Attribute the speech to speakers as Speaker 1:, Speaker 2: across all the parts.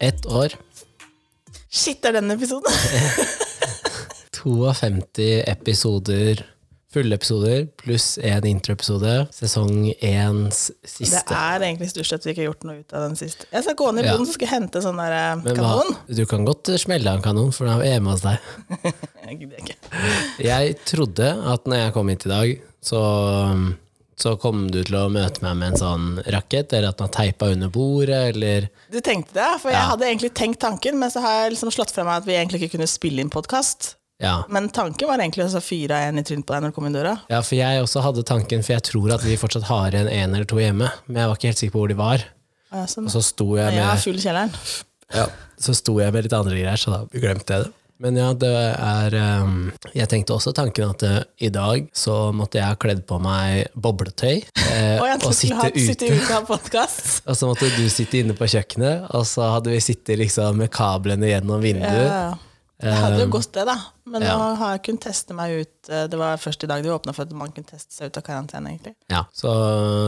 Speaker 1: Ett år.
Speaker 2: Shit, det er den episoden!
Speaker 1: 52 episoder, fulle episoder, pluss én introepisode. Sesong éns
Speaker 2: Det
Speaker 1: siste.
Speaker 2: er egentlig stort sett vi ikke har gjort noe ut av den siste. Jeg skal gå ned i
Speaker 1: Ja.
Speaker 2: boden, så skal jeg hente sånn der eh,
Speaker 1: Men hva-
Speaker 2: kanon.
Speaker 1: Du kan godt smelle av en kanon, for den er hjemme hos deg.
Speaker 2: Jeg gidder ikke.
Speaker 1: Jeg trodde at når jeg kom hit i dag, så, så kom du til å møte meg med en sånn rakett, eller at den har teipa under bordet, eller
Speaker 2: Du tenkte det, for jeg
Speaker 1: Ja.
Speaker 2: hadde egentlig tenkt tanken, men så har jeg liksom slått fra meg at vi egentlig ikke kunne spille inn podkast.
Speaker 1: Ja.
Speaker 2: Men tanken var egentlig å fyre en i trynet på deg når du kom inn døra.
Speaker 1: Ja, for jeg også hadde tanken, for jeg tror at vi fortsatt har igjen én eller to hjemme. Men jeg var ikke helt sikker på hvor de var.
Speaker 2: Og jeg sånn,
Speaker 1: Og så sto jeg
Speaker 2: jeg har
Speaker 1: med,
Speaker 2: fugl i kjelleren.
Speaker 1: ja, så sto jeg med litt andre greier, så da glemte jeg det. Men ja, det er ehm, Jeg tenkte også tanken at eh, i dag så måtte jeg ha kledd på meg bobletøy eh,
Speaker 2: Og jeg
Speaker 1: og
Speaker 2: skulle
Speaker 1: sitte
Speaker 2: hatt- sitte
Speaker 1: ute.
Speaker 2: ute av podkast.
Speaker 1: Og så måtte du sitte inne på kjøkkenet, og så hadde vi sittet liksom med kablene gjennom vinduet.
Speaker 2: Ja. Det hadde jo
Speaker 1: Um,
Speaker 2: gått, det, da. Men
Speaker 1: ja.
Speaker 2: nå har jeg kunnet teste meg ut eh, Det var først i dag de åpna for at man kunne teste seg ut av karantene, egentlig.
Speaker 1: Ja, Så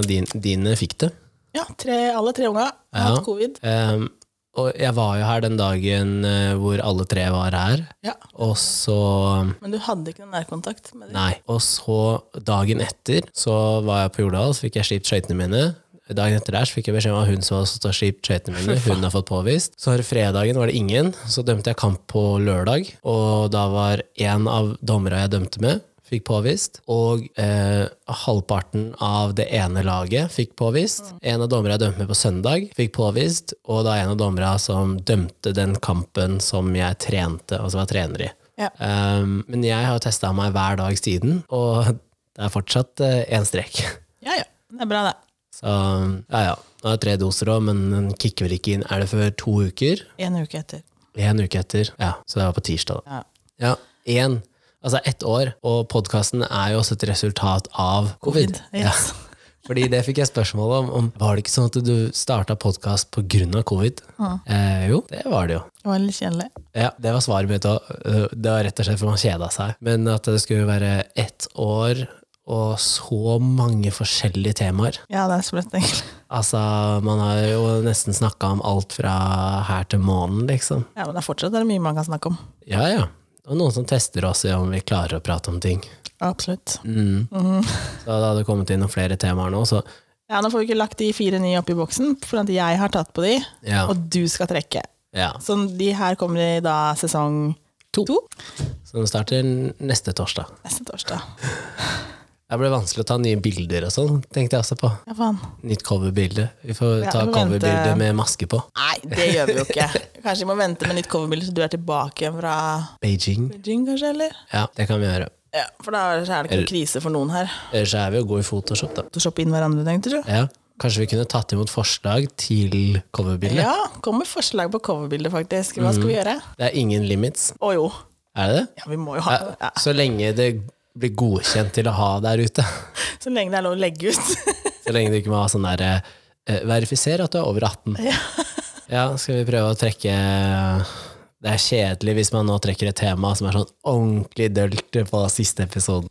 Speaker 1: din, dine fikk det.
Speaker 2: Ja, tre, alle tre unga har
Speaker 1: Ja.
Speaker 2: hatt covid.
Speaker 1: Ehm, og jeg var jo her den dagen eh, hvor alle tre var her,
Speaker 2: Ja.
Speaker 1: og så
Speaker 2: Men du hadde ikke noen nærkontakt med dem?
Speaker 1: Nei. Og så dagen etter så var jeg på Jordal, så fikk jeg slipt skøytene mine. Dagen etter der så fikk jeg beskjed om at hun som hadde stått og slipt skøytene mine, hun har fått påvist. Så her fredagen var det ingen, så dømte jeg kamp på lørdag, og da var en av dommerne jeg dømte med, fikk påvist, og eh, halvparten av det ene laget fikk påvist. En av dommerne jeg dømte med på søndag fikk påvist, og da en av dommerne som dømte den kampen som jeg trente, altså var trener i.
Speaker 2: Ja.
Speaker 1: Um, men jeg har testa meg hver dag siden, og det er fortsatt én strek.
Speaker 2: Ja, ja. Det er bra, det.
Speaker 1: Så ja, ja. Nå er det tre doser òg, men den kicker vel ikke inn. Er det før to uker?
Speaker 2: En uke etter.
Speaker 1: Én uke etter. Ja, så det var på tirsdag. da.
Speaker 2: Ja.
Speaker 1: Ja, én. Altså ett år. Og podkasten er jo også et resultat av covid. Ja.
Speaker 2: Yes.
Speaker 1: Fordi det fikk jeg spørsmål om. om var det ikke sånn at du starta podkast pga. covid? Eh, jo, det var det jo.
Speaker 2: Det var litt kjedelig.
Speaker 1: Ja, det var svaret mitt òg. Det var rett og slett for man kjeda seg. Men at det skulle være ett år og så mange forskjellige temaer.
Speaker 2: Ja, det er sprøtt, egentlig.
Speaker 1: Altså, man har jo nesten snakka om alt fra her til månen, liksom.
Speaker 2: Ja, Men det er fortsatt det er mye man kan snakke om.
Speaker 1: Ja, ja. Og noen som tester oss i om vi klarer å prate om ting.
Speaker 2: Absolutt.
Speaker 1: Mm.
Speaker 2: Mm-hmm.
Speaker 1: Så det hadde kommet inn noen flere temaer nå, så
Speaker 2: Ja, Nå får vi ikke lagt de fire nye oppi boksen, for at jeg har tatt på de,
Speaker 1: ja.
Speaker 2: og du skal trekke.
Speaker 1: ja.
Speaker 2: Så de her kommer i da sesong
Speaker 1: To.
Speaker 2: to
Speaker 1: Så den starter neste torsdag.
Speaker 2: neste torsdag.
Speaker 1: Det ble vanskelig å ta nye bilder og sånn, tenkte jeg også på.
Speaker 2: Ja, faen.
Speaker 1: Nytt coverbilde. Vi får
Speaker 2: Ja,
Speaker 1: ta
Speaker 2: vi må vente.
Speaker 1: coverbilde med maske på.
Speaker 2: Nei, det gjør vi jo ikke. Kanskje vi må vente med nytt coverbilde til du er tilbake igjen fra
Speaker 1: Beijing.
Speaker 2: Beijing, kanskje? eller?
Speaker 1: Ja, det kan vi gjøre.
Speaker 2: Ja, For da er det ikke noe krise for noen her.
Speaker 1: Ellers er vi jo gode i Photoshop, da.
Speaker 2: Photoshoppe inn hverandre, tenkte du?
Speaker 1: Ja. Kanskje vi kunne tatt imot forslag til coverbildet?
Speaker 2: Ja, kom med forslag på coverbilde, faktisk. Hva
Speaker 1: Mm.
Speaker 2: skal vi gjøre?
Speaker 1: Det er ingen limits,
Speaker 2: Å jo.
Speaker 1: er det det?
Speaker 2: Ja, vi må jo ha ja.
Speaker 1: Så lenge det blir godkjent til å ha der ute.
Speaker 2: Så lenge det er lov å legge ut.
Speaker 1: Så lenge du ikke må ha sånn der eh, Verifiser at du er over 18.
Speaker 2: Ja.
Speaker 1: Ja, skal vi prøve å trekke Det er kjedelig hvis man nå trekker et tema som er sånn ordentlig dølt på siste episoden.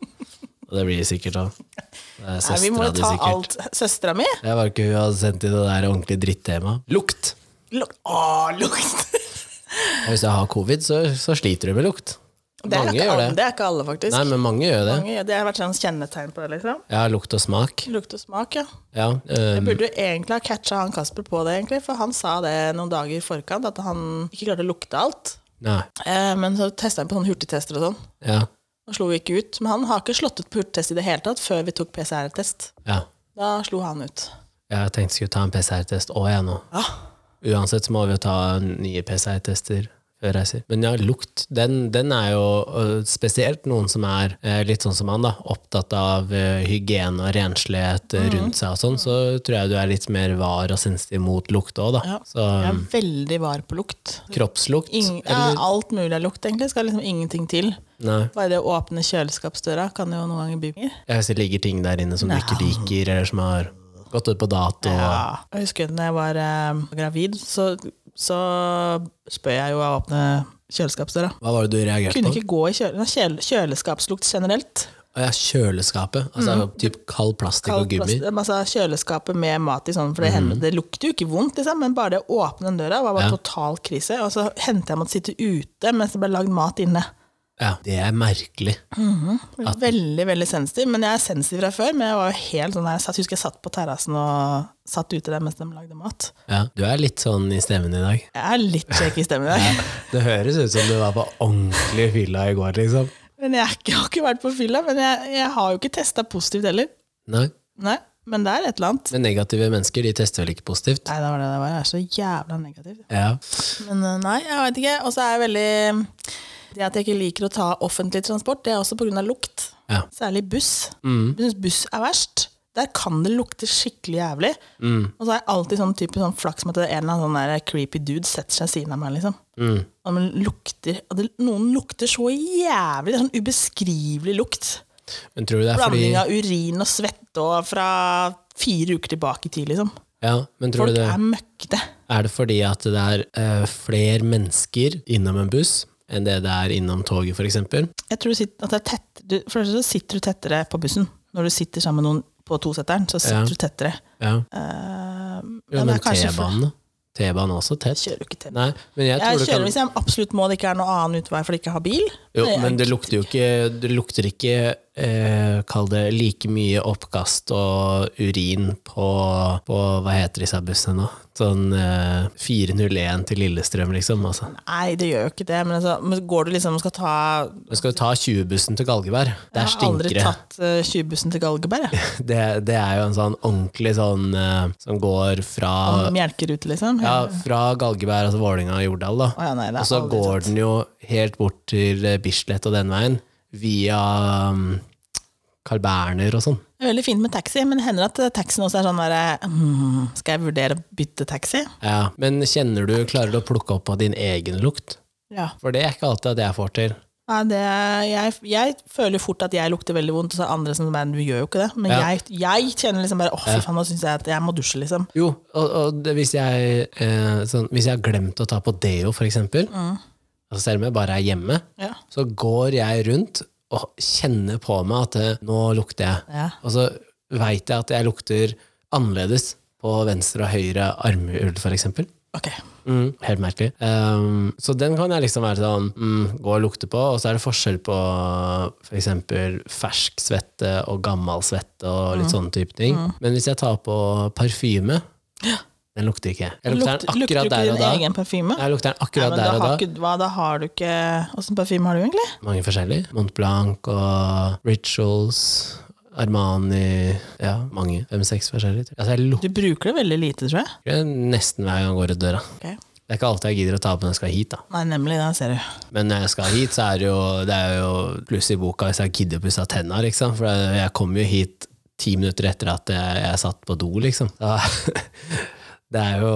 Speaker 1: Og det blir det sikkert òg. Det er
Speaker 2: Nei, vi må
Speaker 1: søstera
Speaker 2: jo
Speaker 1: di,
Speaker 2: ta
Speaker 1: sikkert.
Speaker 2: alt. Søstera mi?
Speaker 1: Jeg var ikke hun hadde sendt inn det der ordentlige drittemaet. Lukt!
Speaker 2: Luk Å, lukt!
Speaker 1: Og Hvis jeg har covid, så, så sliter du med lukt.
Speaker 2: Det er,
Speaker 1: mange
Speaker 2: ikke
Speaker 1: gjør
Speaker 2: alle,
Speaker 1: det.
Speaker 2: det er ikke alle, faktisk.
Speaker 1: Nei, men mange gjør det.
Speaker 2: Mange, gjør- det har vært sånn kjennetegn på det, liksom.
Speaker 1: Ja, lukt og smak.
Speaker 2: Lukt og smak, ja.
Speaker 1: Ja,
Speaker 2: Jeg
Speaker 1: øhm,
Speaker 2: burde jo egentlig ha catcha han Kasper på det, egentlig, for han sa det noen dager i forkant, at han ikke klarte å lukte alt.
Speaker 1: nei,
Speaker 2: Eh, men så testa han på sånne hurtigtester og sånn,
Speaker 1: ja,
Speaker 2: og slo ikke ut. Men han har ikke slått ut på hurtigtest i det hele tatt før vi tok PCR-test.
Speaker 1: ja.
Speaker 2: Da slo han ut.
Speaker 1: Jeg tenkte jeg skulle ta en PCR-test òg, jeg nå.
Speaker 2: Ja.
Speaker 1: Uansett så må vi jo ta nye PCR-tester før reiser. Men ja, lukt, den, den er jo øh, spesielt noen som er eh, litt sånn som han, da. Opptatt av eh, hygiene og renslighet eh, rundt seg og
Speaker 2: Mm.
Speaker 1: sånn. Så tror jeg du er litt mer var og sensitiv mot lukt òg, da.
Speaker 2: Ja.
Speaker 1: Så
Speaker 2: Jeg er veldig var på lukt.
Speaker 1: kroppslukt
Speaker 2: Ingen, ja,
Speaker 1: eller,
Speaker 2: alt mulig av lukt, egentlig. Skal liksom ingenting til.
Speaker 1: Nei.
Speaker 2: Bare det å åpne kjøleskapsdøra kan jo noen ganger by på mer.
Speaker 1: Ja, Hvis det ligger ting der inne som du ikke liker, eller som har gått ut på dato.
Speaker 2: Ja. Jeg husker da jeg var eh, gravid, så, så spør jeg jo å åpne kjøleskapsdøra.
Speaker 1: Hva var det du reagerte
Speaker 2: Kunne
Speaker 1: på?
Speaker 2: ikke gå i kjøle, kjøle, kjøleskapslukt generelt.
Speaker 1: Å ja, kjøleskapet. Altså det er jo typ kald plastikk
Speaker 2: Mm. Kald
Speaker 1: og gummi.
Speaker 2: plast- altså, kjøleskapet med mat i sånn, for det, hender- det lukter jo ikke vondt, liksom, men bare det å åpne den døra var bare
Speaker 1: Ja.
Speaker 2: total krise. Og så hendte jeg måtte sitte ute mens det ble lagd mat inne.
Speaker 1: Ja, det er merkelig.
Speaker 2: Veldig veldig sensitiv, men jeg er sensitiv fra før. Men jeg var jo helt sånn her, jeg satt, husker jeg satt på terrassen og satt ute der mens de lagde mat.
Speaker 1: Ja, du er litt sånn i stemmen i dag.
Speaker 2: Jeg er litt shaky i stemmen i dag.
Speaker 1: Det høres ut som du var på ordentlig fylla i går, liksom.
Speaker 2: Men jeg, er ikke- jeg har ikke vært på fylla, men jeg, jeg har jo ikke testa positivt heller.
Speaker 1: Nei.
Speaker 2: Nei, Men det er et eller annet.
Speaker 1: Men negative mennesker de tester vel ikke positivt?
Speaker 2: Nei, det var det det var. Jeg er så jævla negativ.
Speaker 1: Ja.
Speaker 2: Men eh, nei, jeg vet ikke. Og så er jeg veldig Det at jeg ikke liker å ta offentlig transport, det er også pga. lukt.
Speaker 1: Ja.
Speaker 2: Særlig buss.
Speaker 1: Mm.
Speaker 2: Jeg syns buss er verst. Der kan det lukte skikkelig jævlig.
Speaker 1: Mm.
Speaker 2: Og så har jeg alltid sånn type sånn flaks med at det er en eller annen sånn der creepy dude setter seg ved siden av meg. liksom.
Speaker 1: Mm.
Speaker 2: Og man lukter, og det, Noen lukter så jævlig. Det er sånn ubeskrivelig lukt.
Speaker 1: Men tror du det er fordi
Speaker 2: Blanding av urin og svette og fra fire uker tilbake i tid, liksom.
Speaker 1: Ja, men tror
Speaker 2: Folk
Speaker 1: du det
Speaker 2: er møkkete.
Speaker 1: Er det fordi at det er eh, flere mennesker innom en buss enn det det er innom toget, for eksempel?
Speaker 2: Jeg tror du sitter, at det er tett, du, for det første så sitter du tettere på bussen. Når du sitter sammen med noen på tosetteren, så sitter
Speaker 1: Ja.
Speaker 2: du tettere.
Speaker 1: Ja.
Speaker 2: Eh,
Speaker 1: Jo,
Speaker 2: det
Speaker 1: men
Speaker 2: er kanskje for-
Speaker 1: T-banen T-banen er også tett.
Speaker 2: Jeg kjører jo ikke tett.
Speaker 1: Nei, men jeg
Speaker 2: Jeg
Speaker 1: tror du
Speaker 2: kjører
Speaker 1: kan
Speaker 2: hvis jeg absolutt må det ikke er noen annen utvei fordi jeg ikke har bil.
Speaker 1: jo,
Speaker 2: Det er
Speaker 1: men det
Speaker 2: ikke-
Speaker 1: lukter jo ikke Det lukter ikke, eh, kall det, like mye oppkast og urin på, på Hva heter disse bussene nå? Sånn eh, 401 til Lillestrøm, liksom. Altså.
Speaker 2: Nei, det gjør jo ikke det. Men, altså, men går du liksom og skal ta
Speaker 1: Men Skal du ta 20-bussen til Galgeberg? Der
Speaker 2: Jeg har aldri
Speaker 1: stinker det.
Speaker 2: tatt eh, 20-bussen til Galgeberg. jeg.
Speaker 1: det. Det er jo en sånn ordentlig sånn eh, som går fra
Speaker 2: Melkerute, liksom.
Speaker 1: Ja, fra Galgeberg, altså Vålinga og Jordal,
Speaker 2: Å
Speaker 1: da.
Speaker 2: ja, nei, det er
Speaker 1: Og så
Speaker 2: aldri
Speaker 1: går
Speaker 2: tatt.
Speaker 1: den jo helt bort til eh, Bislett og den veien, via um, Carl Berner og sånn.
Speaker 2: Det er veldig fint med taxi, men det hender at eh, taxien også er sånn derre mm, Skal jeg vurdere å bytte taxi?
Speaker 1: Ja. Men kjenner du, klarer du å plukke opp på din egen lukt?
Speaker 2: Ja.
Speaker 1: For det er ikke alltid at jeg får til.
Speaker 2: Nei, det, jeg, jeg føler jo fort at jeg lukter veldig vondt, og så er andre som bare, du gjør jo ikke det. Men
Speaker 1: Ja.
Speaker 2: jeg, jeg kjenner liksom bare, åh fy faen, nå synes jeg at jeg må dusje, liksom.
Speaker 1: Jo, og, og det, hvis, jeg, eh, sånn, hvis jeg har glemt å ta på deo, for eksempel, altså selv om jeg bare er hjemme,
Speaker 2: Ja.
Speaker 1: så går jeg rundt og kjenner på meg at eh, nå lukter jeg.
Speaker 2: Ja.
Speaker 1: Og så veit jeg at jeg lukter annerledes på venstre og høyre armhul, for eksempel.
Speaker 2: Ok.
Speaker 1: Mm, helt merkelig. Ehm, så den kan jeg liksom være sånn mm, gå og lukte på, og så er det forskjell på for eksempel fersk svette og gammel svette og
Speaker 2: Mm.
Speaker 1: litt sånne type ting. Men hvis jeg tar på parfyme, den lukter ikke. Jeg lukter
Speaker 2: Lukter-
Speaker 1: den
Speaker 2: lukter
Speaker 1: akkurat der
Speaker 2: du
Speaker 1: og
Speaker 2: ikke
Speaker 1: da.
Speaker 2: din egen parfyme?
Speaker 1: Jeg lukter den
Speaker 2: Nei,
Speaker 1: akkurat
Speaker 2: men da
Speaker 1: der og da.
Speaker 2: har ikke, hva, da har du ikke, hvordan parfyme har du egentlig?
Speaker 1: mange forskjellige. Mont Blanc og Rituals, Armani Ja, mange. Fem-seks forskjellige. Altså, jeg
Speaker 2: Du
Speaker 1: lukter
Speaker 2: bruker det veldig lite, tror jeg.
Speaker 1: det nesten hver gang jeg går ut døra.
Speaker 2: Ok.
Speaker 1: Det er ikke alltid jeg gidder å ta på når jeg skal hit, da.
Speaker 2: Nei, nemlig, da ser du.
Speaker 1: Men når jeg skal hit, så er det jo, det er jo pluss i boka hvis jeg gidder å pusse av tenna, liksom. For jeg kommer jo hit ti minutter etter at jeg, jeg satt på do, liksom. Da, det er jo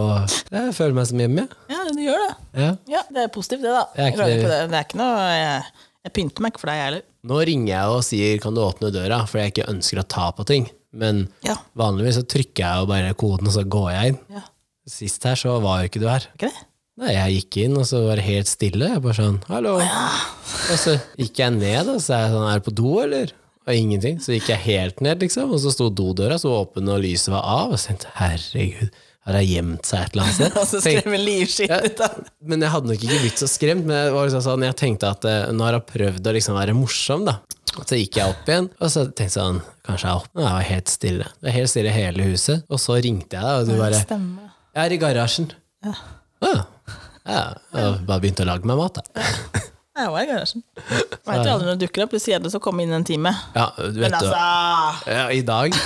Speaker 1: Jeg føler meg som hjemme, jeg.
Speaker 2: Ja, du gjør det.
Speaker 1: Ja.
Speaker 2: Ja, det er positivt det da.
Speaker 1: Jeg er
Speaker 2: Jeg
Speaker 1: ikke-
Speaker 2: klager på det. Det er ikke noe, jeg, jeg pynter meg ikke for deg, jeg heller.
Speaker 1: Nå ringer jeg og sier 'kan du åpne døra', for jeg ikke ønsker å ta på ting. Men
Speaker 2: Ja,
Speaker 1: Vanligvis så trykker jeg jo bare koden, og så går jeg inn.
Speaker 2: ja.
Speaker 1: Sist her så var jo ikke du her.
Speaker 2: Ikke det?
Speaker 1: Nei, jeg gikk inn, og så var det helt stille. Jeg bare sånn, hallo. Og så gikk jeg ned, og så er jeg sånn, er du på do, eller? Og ingenting. Så gikk jeg helt ned, liksom, og så sto dodøra så åpen, og lyset var av. Og så tenkte jeg, herregud, har jeg gjemt seg et eller annet sted?
Speaker 2: Og så
Speaker 1: Tenkte-
Speaker 2: skrev en livskitt
Speaker 1: Ja.
Speaker 2: ut av det.
Speaker 1: men jeg hadde nok ikke blitt så skremt, men jeg, var liksom sånn, jeg tenkte at eh, nå har jeg prøvd å liksom være morsom, da. Og så gikk jeg opp igjen, og så tenkte jeg sånn, kanskje jeg er oppe, og jeg var helt stille. Det var helt stille i hele huset, og så ringte jeg deg, og du bare,
Speaker 2: Stemme.
Speaker 1: jeg er i garasjen.
Speaker 2: Ja.
Speaker 1: Å, ja. Og bare begynte å lage meg mat, da.
Speaker 2: Jeg var i garasjen. Veit jo aldri når det dukker opp. Det er så kjedelig å komme inn en time.
Speaker 1: Ja, du vet
Speaker 2: Men
Speaker 1: jo.
Speaker 2: altså
Speaker 1: Ja, I dag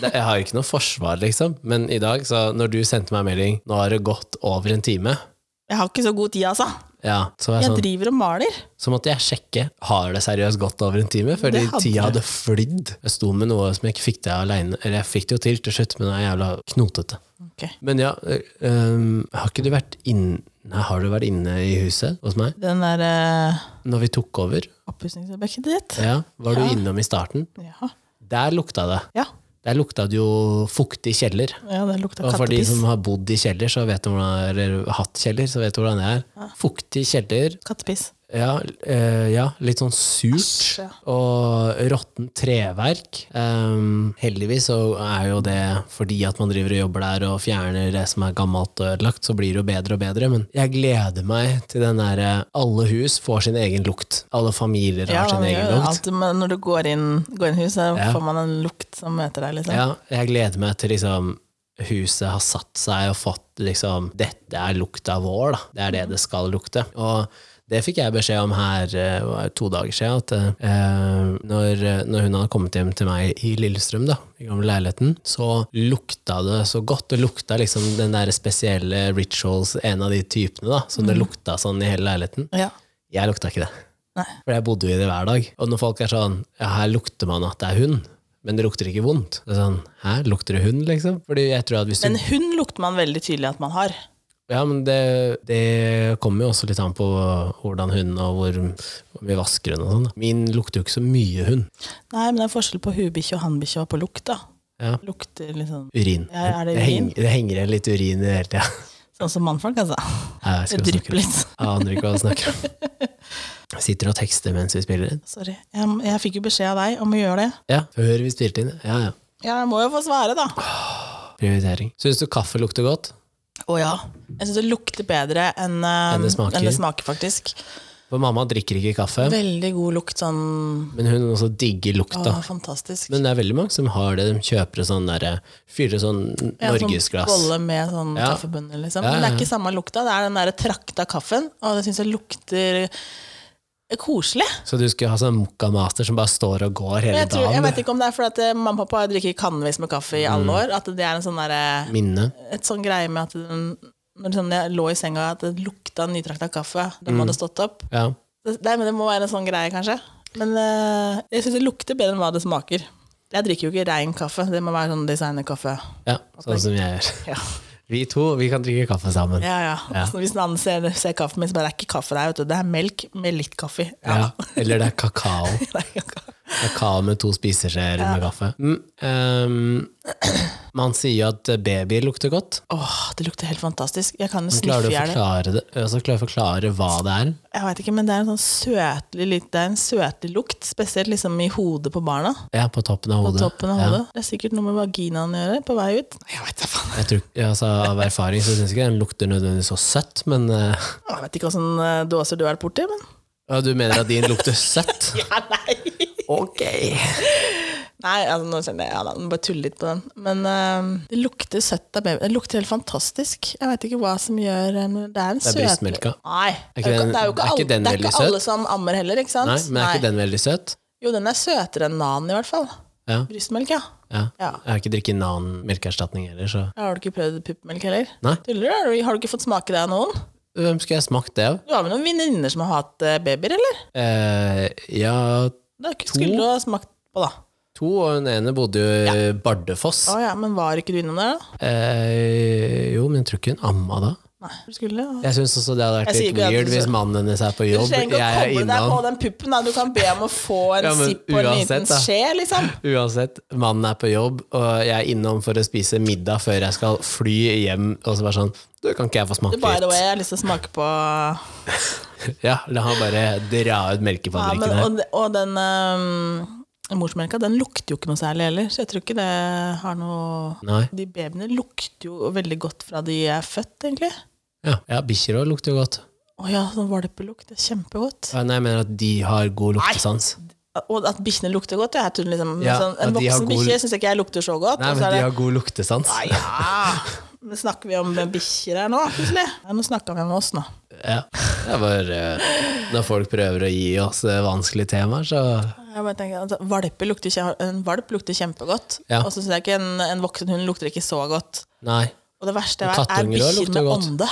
Speaker 1: det, Jeg har ikke noe forsvar, liksom. Men i dag, så når du sendte meg melding Nå har det gått over en time,
Speaker 2: Jeg har ikke så god tid, altså.
Speaker 1: ja, så, var jeg
Speaker 2: Jeg
Speaker 1: sånn,
Speaker 2: driver og maler.
Speaker 1: så måtte jeg sjekke Har det seriøst gått over en time. Fordi
Speaker 2: Det hadde
Speaker 1: tida
Speaker 2: det.
Speaker 1: hadde flydd. Jeg sto med noe som jeg ikke fikk til alene Eller jeg fikk det jo til til slutt, men det er jævla knotete.
Speaker 2: Ok,
Speaker 1: Men ja, ø- øhm, har ikke du vært inne Nei, har du vært inne i huset hos meg
Speaker 2: Den der uh,
Speaker 1: når vi tok over?
Speaker 2: oppussingsarbeidet ditt.
Speaker 1: Ja, Var du
Speaker 2: Ja.
Speaker 1: innom i starten?
Speaker 2: Ja.
Speaker 1: Der lukta det.
Speaker 2: Ja.
Speaker 1: Der lukta det jo fuktig kjeller.
Speaker 2: ja, det lukta
Speaker 1: Og for de
Speaker 2: kattepiss.
Speaker 1: som har bodd i kjeller, så vet de hvordan, eller hatt kjeller, så vet de hvordan det er. Fuktig kjeller,
Speaker 2: Kattepiss.
Speaker 1: Ja, eh, ja, litt sånn surt
Speaker 2: Æsj, ja.
Speaker 1: og råttent treverk. Ehm, heldigvis så er jo det fordi at man driver og jobber der og fjerner det som er gammelt og ødelagt, så blir det jo bedre og bedre. Men jeg gleder meg til den derre alle hus får sin egen lukt. Alle familier har
Speaker 2: Ja,
Speaker 1: sin
Speaker 2: man
Speaker 1: egen
Speaker 2: gjør
Speaker 1: lukt.
Speaker 2: alltid, men når du går inn, går inn i huset,
Speaker 1: Ja.
Speaker 2: får man en lukt som møter deg. Liksom.
Speaker 1: Ja, jeg gleder meg til liksom huset har satt seg og fått liksom Dette er lukta vår, da. Det er det det skal lukte. Og det fikk jeg beskjed om her eh, var det to dager siden. At eh, når, når hun hadde kommet hjem til meg i Lillestrøm, da, i gamle leiligheten, så lukta det så godt. Det lukta liksom den der spesielle rituals, en av de typene, da, som det lukta sånn i hele leiligheten.
Speaker 2: Ja.
Speaker 1: Jeg lukta ikke det.
Speaker 2: Nei.
Speaker 1: For jeg bodde jo i det hver dag. Og når folk er sånn Ja, her lukter man at det er hund, men det lukter ikke vondt. Det er sånn, Hæ, lukter det hund, liksom? Fordi jeg tror at hvis du
Speaker 2: Men hund lukter man veldig tydelig at man har.
Speaker 1: Ja, men det, det kommer jo også litt an på hvordan hunden og hvor, hvor mye vasker hun og sånn. da. Min lukter jo ikke så mye hund.
Speaker 2: Nei, men det er forskjell på hubikkje og hannbikkje og på lukt. da.
Speaker 1: Ja.
Speaker 2: Lukter liksom
Speaker 1: Urin.
Speaker 2: Ja, er det
Speaker 1: henger, det henger igjen litt urin i det hele tida.
Speaker 2: Sånn som mannfolk, altså.
Speaker 1: Jeg
Speaker 2: Det
Speaker 1: vet ikke
Speaker 2: drypper
Speaker 1: hva jeg snakker om.
Speaker 2: litt.
Speaker 1: Jeg aner ikke hva jeg snakker om. Jeg Sitter og tekster mens vi spiller inn.
Speaker 2: Sorry. Jeg, jeg fikk jo beskjed av deg om å gjøre det.
Speaker 1: Ja, før vi spilte inn. Ja, ja.
Speaker 2: Ja, jeg må jo få svare, da.
Speaker 1: Prioritering. Syns du kaffe lukter godt?
Speaker 2: Å ja. Jeg syns det lukter bedre enn, eh,
Speaker 1: Enn det smaker.
Speaker 2: enn det smaker, faktisk.
Speaker 1: For mamma drikker ikke kaffe.
Speaker 2: Veldig god lukt sånn
Speaker 1: Men hun også digger lukta.
Speaker 2: Å, fantastisk.
Speaker 1: Men det er veldig mange som har det. De kjøper sånn der, fyller sånn
Speaker 2: Ja,
Speaker 1: norgesglass.
Speaker 2: Sånn bolle med sånn
Speaker 1: Ja.
Speaker 2: kaffebønner, liksom.
Speaker 1: Ja, ja,
Speaker 2: Men det er
Speaker 1: ja.
Speaker 2: ikke samme lukta. Det er den der trakta kaffen, og det syns jeg lukter koselig.
Speaker 1: Så du skulle ha sånn mokkamaster som bare står og går hele
Speaker 2: Men jeg, tror, jeg
Speaker 1: dagen?
Speaker 2: vet ikke om det er fordi at eh, mamma og pappa drikker kanvis med kaffe i alle
Speaker 1: Mm.
Speaker 2: år, at det er en sånn der, eh,
Speaker 1: Minne.
Speaker 2: et sånn greie med at den, når sånn jeg lå i senga, at det lukta nytrakta kaffe. Den
Speaker 1: Mm.
Speaker 2: hadde stått opp.
Speaker 1: Ja.
Speaker 2: Det, nei, men det må være en sånn greie, kanskje. Men eh, jeg syns det lukter bedre enn hva det smaker. Jeg drikker jo ikke rein kaffe. Det må være sånn designerkaffe.
Speaker 1: ja. Sånn som jeg gjør.
Speaker 2: Ja.
Speaker 1: Vi to vi kan drikke kaffe sammen.
Speaker 2: Ja, ja. Så hvis en annen ser, ser kaffen min, så bare det er ikke kaffe der, vet du. Det er melk med litt kaffe. Ja.
Speaker 1: Ja. Eller det er kakao.
Speaker 2: Det er ikke kaffe.
Speaker 1: Kakao med to spiseskjeer med kaffe. Mm, ehm, man sier jo at babyer lukter godt.
Speaker 2: Åh, det lukter helt fantastisk. Jeg kan jo
Speaker 1: Klarer
Speaker 2: sniffe
Speaker 1: du
Speaker 2: i
Speaker 1: å
Speaker 2: hjel.
Speaker 1: forklare, det? Altså, klarer du å forklare hva det er?
Speaker 2: Jeg vet ikke, men det er en sånn søtlig, litt- det er en søtlig lukt, spesielt liksom i hodet på barna.
Speaker 1: Ja, på toppen av
Speaker 2: På
Speaker 1: hodet.
Speaker 2: toppen av
Speaker 1: Ja.
Speaker 2: hodet. Det er sikkert noe med vaginaen å gjøre, på vei ut. Nei, Jeg vet da faen.
Speaker 1: Jeg tror, ja, altså, av erfaring så syns jeg ikke den lukter nødvendigvis så søtt, men eh,
Speaker 2: Jeg vet ikke åssen dåser du har vært borti, men
Speaker 1: ja, Du mener at din lukter søtt?
Speaker 2: Ja, nei.
Speaker 1: Ok!
Speaker 2: Nei, altså nå kjenner jeg ja, da, nå bare tuller litt på den. Men eh, det lukter søtt av baby. Det lukter helt fantastisk. Jeg vet ikke hva som gjør eh, men Det er en
Speaker 1: Det
Speaker 2: søt
Speaker 1: er brystmelka.
Speaker 2: Nei.
Speaker 1: Er ikke
Speaker 2: det, er jo
Speaker 1: den-
Speaker 2: ikke, det er jo
Speaker 1: er ikke
Speaker 2: ikke, alle,
Speaker 1: den
Speaker 2: det er
Speaker 1: veldig
Speaker 2: ikke alle som ammer heller, ikke sant?
Speaker 1: Nei, men er ikke den veldig søt?
Speaker 2: Jo, den er søtere enn nan, i hvert fall.
Speaker 1: Ja.
Speaker 2: Brystmelk, ja.
Speaker 1: ja.
Speaker 2: Ja.
Speaker 1: Jeg har ikke drikket annen melkeerstatning heller, så
Speaker 2: Har du ikke prøvd puppmelk heller?
Speaker 1: Nei.
Speaker 2: Tuller du? Har du- Har du ikke fått smake det av noen?
Speaker 1: Hvem skulle jeg smakt det av?
Speaker 2: Du har vel noen venninner som har hatt eh, babyer, eller?
Speaker 1: Eh, ja,
Speaker 2: Det er ikke- skulle du ha smakt på, da.
Speaker 1: to, og den ene bodde jo i Bardufoss.
Speaker 2: Å ja, men var ikke du innom der, da?
Speaker 1: Eh, jo, men jeg tror ikke hun amma da.
Speaker 2: Nei, du skulle det.
Speaker 1: Jeg syns også det hadde vært
Speaker 2: Jeg sier
Speaker 1: litt
Speaker 2: ikke at
Speaker 1: weird
Speaker 2: du-
Speaker 1: hvis mannen hennes er på
Speaker 2: Du
Speaker 1: jobb,
Speaker 2: trenger ikke å
Speaker 1: jeg er
Speaker 2: koble deg på
Speaker 1: innan.
Speaker 2: den puppen. Da. Du kan be om å få en
Speaker 1: Ja, men
Speaker 2: sipp og en
Speaker 1: uansett,
Speaker 2: liten
Speaker 1: da.
Speaker 2: skje, liksom.
Speaker 1: Uansett, mannen er på jobb, og jeg er innom for å spise middag før jeg skal fly hjem. Og så bare sånn Du, kan ikke jeg få
Speaker 2: Du,
Speaker 1: smake
Speaker 2: by the way,
Speaker 1: litt?
Speaker 2: jeg har lyst til å smake på ja,
Speaker 1: Ja, La han bare dra ut
Speaker 2: men,
Speaker 1: melkefabrikken her.
Speaker 2: og, de- og den ehm, morsmelka, den lukter jo ikke noe særlig heller, så jeg tror ikke det har noe
Speaker 1: Nei.
Speaker 2: De babyene lukter jo veldig godt fra de er født, egentlig.
Speaker 1: Ja, ja bikkjer òg lukter jo godt.
Speaker 2: Å ja, sånn valpelukt. Det er kjempegodt.
Speaker 1: Ja, Nei, jeg mener at de har god luktesans.
Speaker 2: Og at bikkjene lukter godt. Jeg tror liksom,
Speaker 1: Ja,
Speaker 2: sånn, en
Speaker 1: at de har
Speaker 2: voksen
Speaker 1: god-
Speaker 2: bikkje syns jeg ikke jeg lukter så godt.
Speaker 1: Nei,
Speaker 2: og
Speaker 1: men
Speaker 2: så er
Speaker 1: de
Speaker 2: det,
Speaker 1: har god luktesans.
Speaker 2: Ah, ja. Men snakker vi om bikkjer her nå, plutselig? Ja, nå snakka vi om oss, nå.
Speaker 1: Ja. Det er bare eh, Når folk prøver å gi oss eh, vanskelige temaer, så
Speaker 2: Jeg bare tenker, altså, valper lukter, kje- en valp lukter kjempegodt,
Speaker 1: Ja.
Speaker 2: og så syns jeg ikke en, en voksen hund lukter ikke så godt.
Speaker 1: Nei.
Speaker 2: Og det verste jeg vet, er
Speaker 1: Kattunger også
Speaker 2: bikkjer
Speaker 1: lukter
Speaker 2: med
Speaker 1: godt.
Speaker 2: ånde.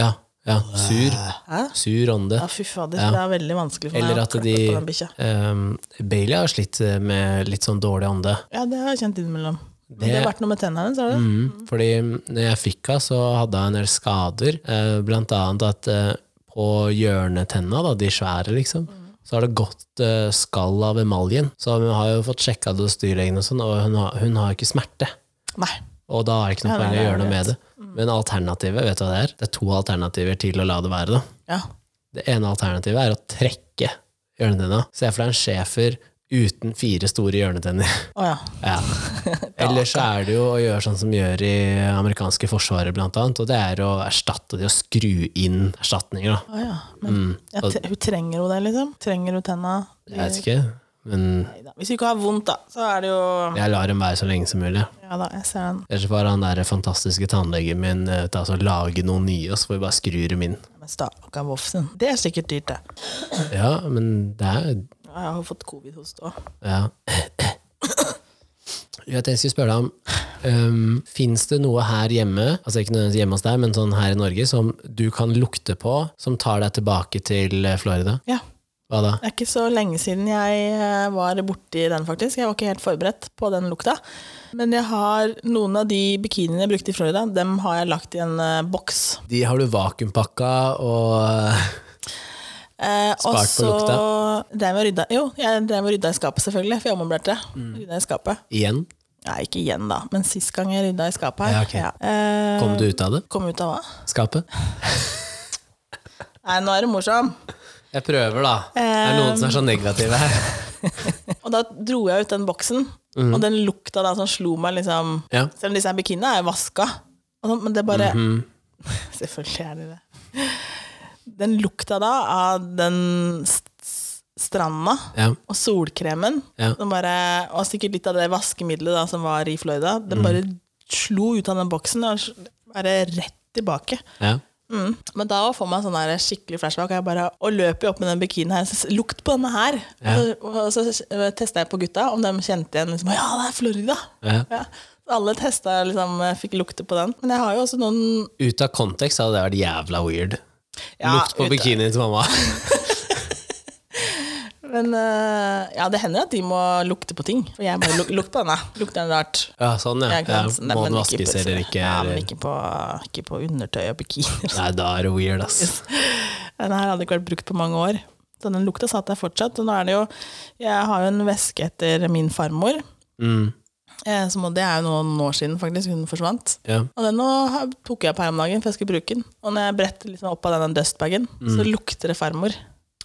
Speaker 1: Ja. ja. Sur.
Speaker 2: Hæ?
Speaker 1: Sur ånde.
Speaker 2: Ja, fy fader, det er veldig vanskelig for
Speaker 1: Eller
Speaker 2: meg å
Speaker 1: at
Speaker 2: klappe
Speaker 1: de
Speaker 2: på den bikkja.
Speaker 1: ehm, Bailey har slitt med litt sånn dårlig ånde.
Speaker 2: Ja, det har jeg kjent innimellom. Men
Speaker 1: Det-
Speaker 2: det har vært noe med tennene hennes, har det?
Speaker 1: Mm. Fordi når jeg fikk henne, så hadde hun en del skader. eh, Blant annet at eh, på hjørnetenna, da, de svære, liksom, så har det gått eh, skall av emaljen. Så hun har jo fått sjekka det hos dyrlegen, og sånn, og hun har, hun har ikke smerte.
Speaker 2: Nei.
Speaker 1: Og da er det ikke noe
Speaker 2: Ja, nei,
Speaker 1: poeng å
Speaker 2: det er
Speaker 1: gjøre noe
Speaker 2: greit.
Speaker 1: med det. Men alternativet, vet du hva det er? Det er to alternativer til å la det være, da.
Speaker 2: Ja.
Speaker 1: Det ene alternativet er å trekke hjørnetenna. Se for deg en schæfer uten fire store hjørnetenner.
Speaker 2: Å ja.
Speaker 1: Ja. Ellers så er det jo å gjøre sånn som gjør i amerikanske forsvaret, blant annet, og det er å erstatte det og skru inn erstatninger. Da.
Speaker 2: Å, ja. Men jeg, tre- hun trenger jo det, liksom? Trenger hun tenna?
Speaker 1: Mm. Jeg vet ikke, men
Speaker 2: Neida. Hvis hun ikke har vondt, da, så er det jo
Speaker 1: jeg lar dem være så lenge som mulig.
Speaker 2: Ja da, jeg ser den.
Speaker 1: Ellers får han der fantastiske tannlegen min eh, ta og lage noen nye, og så får vi bare skru dem inn.
Speaker 2: Men Stakkar Vofsen. Det er sikkert dyrt, det.
Speaker 1: Ja, men det er
Speaker 2: Ja, Jeg har fått covid-hoste òg.
Speaker 1: Ja. Jeg tenkte jeg skulle spørre deg om um, Fins det noe her hjemme, altså ikke nødvendigvis hjemme hos deg, men sånn her i Norge, som du kan lukte på, som tar deg tilbake til eh, Florida?
Speaker 2: Ja.
Speaker 1: Hva da?
Speaker 2: Det er ikke så lenge siden jeg eh, var borti den, faktisk. Jeg var ikke helt forberedt på den lukta. Men jeg har noen av de bikiniene jeg brukte i Florida, dem har jeg lagt i en eh, boks.
Speaker 1: De har du vakuumpakka og
Speaker 2: Eh,
Speaker 1: Spart på
Speaker 2: Og så drev jeg og rydda Jo, jeg drev og rydda i skapet, selvfølgelig, for jeg ommøblerte.
Speaker 1: Mm.
Speaker 2: Rydda i skapet.
Speaker 1: Igjen?
Speaker 2: Nei, ikke igjen, da, men sist gang jeg rydda i skapet her.
Speaker 1: Ja, ok.
Speaker 2: Eh,
Speaker 1: Kom du ut av det?
Speaker 2: Kom ut av hva?
Speaker 1: Skapet?
Speaker 2: Nei, nå er du morsom!
Speaker 1: Jeg prøver, da. Det er noen som er så negative her.
Speaker 2: Og da dro jeg ut den boksen,
Speaker 1: Mm.
Speaker 2: og den lukta da som slo meg liksom
Speaker 1: Ja.
Speaker 2: Selv om disse her bikiniene er jo vaska, og sånn, men det bare
Speaker 1: Mhm.
Speaker 2: Selvfølgelig er det det. Den lukta da av den st- s- stranda
Speaker 1: Ja.
Speaker 2: og solkremen,
Speaker 1: Ja.
Speaker 2: den bare, og sikkert litt av det vaskemiddelet da som var i Florida, den
Speaker 1: Mm.
Speaker 2: bare slo ut av den boksen og s- bare rett tilbake.
Speaker 1: ja.
Speaker 2: Mm. Men da får man sånn der skikkelig flashback, og jeg bare og løper jo opp med den bikinien her. så s- Lukt på denne her!
Speaker 1: Ja.
Speaker 2: Og, så, og så testa jeg på gutta om de kjente igjen liksom, Ja, det er Florida!
Speaker 1: ja.
Speaker 2: Ja. Så alle testa liksom, fikk lukte på den. Men jeg har jo også noen
Speaker 1: Ut av kontekst hadde det vært jævla weird.
Speaker 2: ja,
Speaker 1: Lukt på
Speaker 2: ut-
Speaker 1: bikinien til mamma.
Speaker 2: Men eh, ja, det hender at de må lukte på ting. For jeg bare luk, lukt på denne. Lukter den rart.
Speaker 1: Ja, sånn, ja.
Speaker 2: Jeg
Speaker 1: ja.
Speaker 2: kan- Nei,
Speaker 1: Må
Speaker 2: men
Speaker 1: den
Speaker 2: ikke på-
Speaker 1: vaskes eller ikke?
Speaker 2: Ja, men
Speaker 1: eller-
Speaker 2: ikke på, ikke på undertøy og bikinier.
Speaker 1: Nei, da er det weird, ass.
Speaker 2: Den her hadde ikke vært brukt på mange år. Så den lukta satt der fortsatt. Og nå er det jo Jeg har jo en veske etter min farmor.
Speaker 1: Mm.
Speaker 2: Eh, som, og det er jo noen år siden, faktisk. Hun forsvant.
Speaker 1: Ja.
Speaker 2: Og den nå har- tok jeg opp her om dagen, for jeg skulle bruke den. Og når jeg bretter liksom opp av denne dustbagen, så lukter det farmor.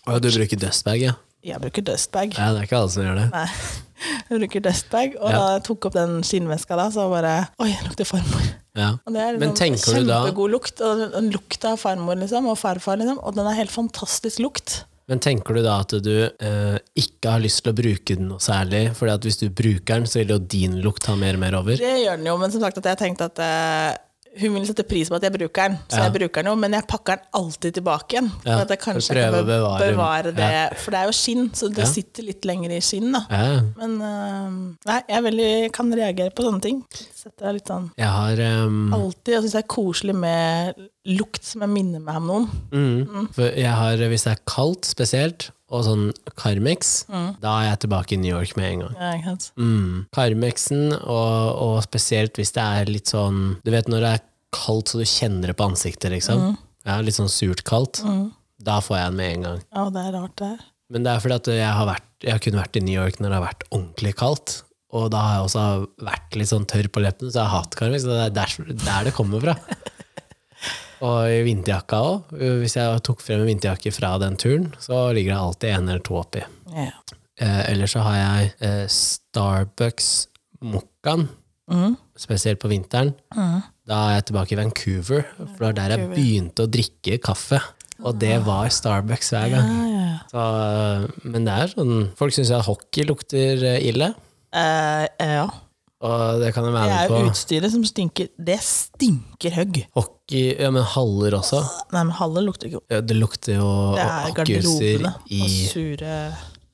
Speaker 1: Og du bruker dustbag, ja.
Speaker 2: Jeg bruker dustbag.
Speaker 1: ja? Det er ikke alle som gjør det.
Speaker 2: Nei. Jeg bruker dustbag, og
Speaker 1: Ja.
Speaker 2: da jeg tok opp den skinnveska da, så bare Oi, det lukter farmor.
Speaker 1: Ja.
Speaker 2: Og det er
Speaker 1: Men
Speaker 2: liksom
Speaker 1: tenker du da-
Speaker 2: kjempegod lukt. Og den- den lukta av farmor liksom, og farfar, liksom. Og den er helt fantastisk lukt.
Speaker 1: Men tenker du da at du eh, ikke har lyst til å bruke den noe særlig? Fordi at hvis du bruker den, så vil jo din lukt ta mer og mer over.
Speaker 2: Det gjør den jo, men som sagt at jeg tenkte at eh, hun vil sette pris på at jeg bruker den, så
Speaker 1: Ja.
Speaker 2: jeg bruker den jo, men jeg pakker den alltid tilbake igjen.
Speaker 1: Ja,
Speaker 2: For at jeg
Speaker 1: for å
Speaker 2: kanskje
Speaker 1: prøve
Speaker 2: kan
Speaker 1: å
Speaker 2: be-
Speaker 1: bevare-
Speaker 2: bevare det, for det er jo skinn, så det
Speaker 1: Ja.
Speaker 2: sitter litt lenger i skinn, da.
Speaker 1: Ja.
Speaker 2: Men eh, nei, jeg er veldig, kan reagere på sånne ting. Setter jeg litt sånn
Speaker 1: Jeg har ehm,
Speaker 2: Alltid. Jeg syns det er koselig med lukt som jeg minner meg om noen.
Speaker 1: mm, for jeg har, Hvis det er kaldt spesielt, og sånn Carmex, da er jeg tilbake i New York med en gang.
Speaker 2: Ja, ikke sant?
Speaker 1: Mm. Carmexen, og, og spesielt hvis det er litt sånn Du vet når det er kaldt så du kjenner det på ansiktet, liksom. Ja, litt sånn surt kaldt. Da får jeg den med en gang.
Speaker 2: Ja, det er rart, det her.
Speaker 1: Men det er fordi at jeg har, vært, jeg har kun vært i New York når det har vært ordentlig kaldt. Og da har jeg også vært litt sånn tørr på leppene, så jeg har hatt karmix. Det er der, der det kommer fra. Og i vinterjakka òg. Hvis jeg tok frem en vinterjakke fra den turen, så ligger det alltid en eller to oppi.
Speaker 2: Ja.
Speaker 1: Eh, ellers så har jeg eh, Starbucks Mokkaen,
Speaker 2: Mhm.
Speaker 1: spesielt på vinteren.
Speaker 2: Mhm.
Speaker 1: Da er jeg tilbake i Vancouver, for det var der jeg
Speaker 2: Vancouver.
Speaker 1: begynte å drikke kaffe. Og det var Starbucks hver gang.
Speaker 2: Ja, ja, ja.
Speaker 1: Så, eh, men det er sånn Folk syns at hockey lukter eh, ille,
Speaker 2: Eh, eh, ja.
Speaker 1: og det kan jeg
Speaker 2: Det
Speaker 1: være
Speaker 2: er
Speaker 1: med på.
Speaker 2: jo utstyret som stinker. Det stinker høgg.
Speaker 1: Hockey, ja, men haller også.
Speaker 2: Nei, men hallen lukter ikke godt.
Speaker 1: Ja, det lukter jo
Speaker 2: Det er
Speaker 1: hockeyutstyr
Speaker 2: garderobene
Speaker 1: i
Speaker 2: og sure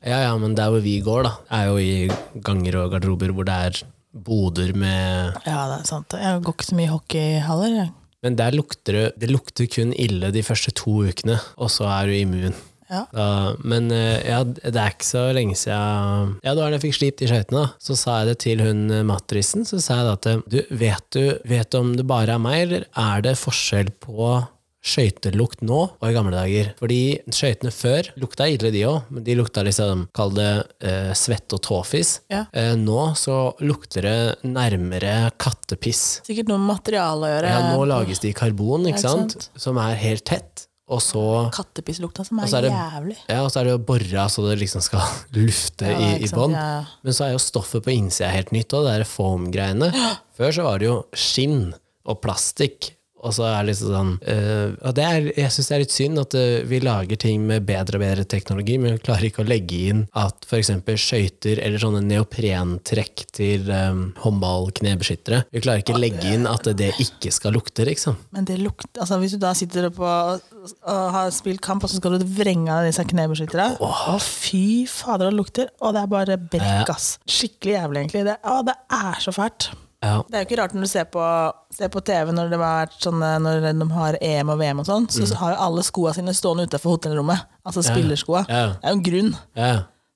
Speaker 1: Ja, ja, men der hvor vi går, da, er jo i ganger og garderober hvor det er boder med
Speaker 2: Ja, det er sant. Jeg går ikke så mye i hockeyhaller. jeg.
Speaker 1: Men der lukter det Det lukter kun ille de første to ukene, og så er du immun.
Speaker 2: Ja.
Speaker 1: Da, men eh, ja, det er ikke så lenge siden Ja, det var da jeg fikk slipt de skøytene, da. Så sa jeg det til hun eh, mattrisen. Så sa jeg da at eh, du, vet du vet du om det bare er meg, eller er det forskjell på skøytelukt nå og i gamle dager? Fordi skøytene før lukta ille, de òg, men de lukta liksom, kall det eh, svett og tåfis.
Speaker 2: Ja.
Speaker 1: Eh, nå så lukter det nærmere kattepiss.
Speaker 2: Sikkert noe med materiale å gjøre.
Speaker 1: Ja, nå lages de i karbon, ikke
Speaker 2: Eh, ikke
Speaker 1: sant? Som er helt tett. Og så,
Speaker 2: Kattepisslukt, som
Speaker 1: Og
Speaker 2: er,
Speaker 1: så er det-
Speaker 2: jævlig.
Speaker 1: ja, og så er det jo borra så det liksom skal lufte
Speaker 2: Ja,
Speaker 1: i,
Speaker 2: ikke
Speaker 1: i
Speaker 2: sant,
Speaker 1: bånd.
Speaker 2: ja, ja.
Speaker 1: Men så er jo stoffet på innsida helt nytt òg, det der foam-greiene. Før så var det jo skinn og plastikk. Og så er det liksom sånn eh, Og det er, jeg syns det er litt synd at eh, vi lager ting med bedre og bedre teknologi, men vi klarer ikke å legge inn at f.eks. skøyter eller sånne neoprentrekk til um, håndball-knebeskyttere Vi klarer ikke å legge inn at det ikke skal lukte, liksom.
Speaker 2: Men det lukter altså, Hvis du da sitter oppe og, og har spilt kamp, og så skal du vrenge av disse knebeskytterne Å, fy fader, det lukter! Og det er bare brekk, ass. Skikkelig jævlig, egentlig. Det, å, det er så fælt.
Speaker 1: Ja.
Speaker 2: Det er jo ikke rart når du ser på, ser på TV når, det har vært sånne, når de har EM og VM og sånn, så har jo alle skoene sine stående utenfor hotellrommet. Altså spillerskoa.
Speaker 1: Mm. Ja.
Speaker 2: Det er jo en grunn.
Speaker 1: ja.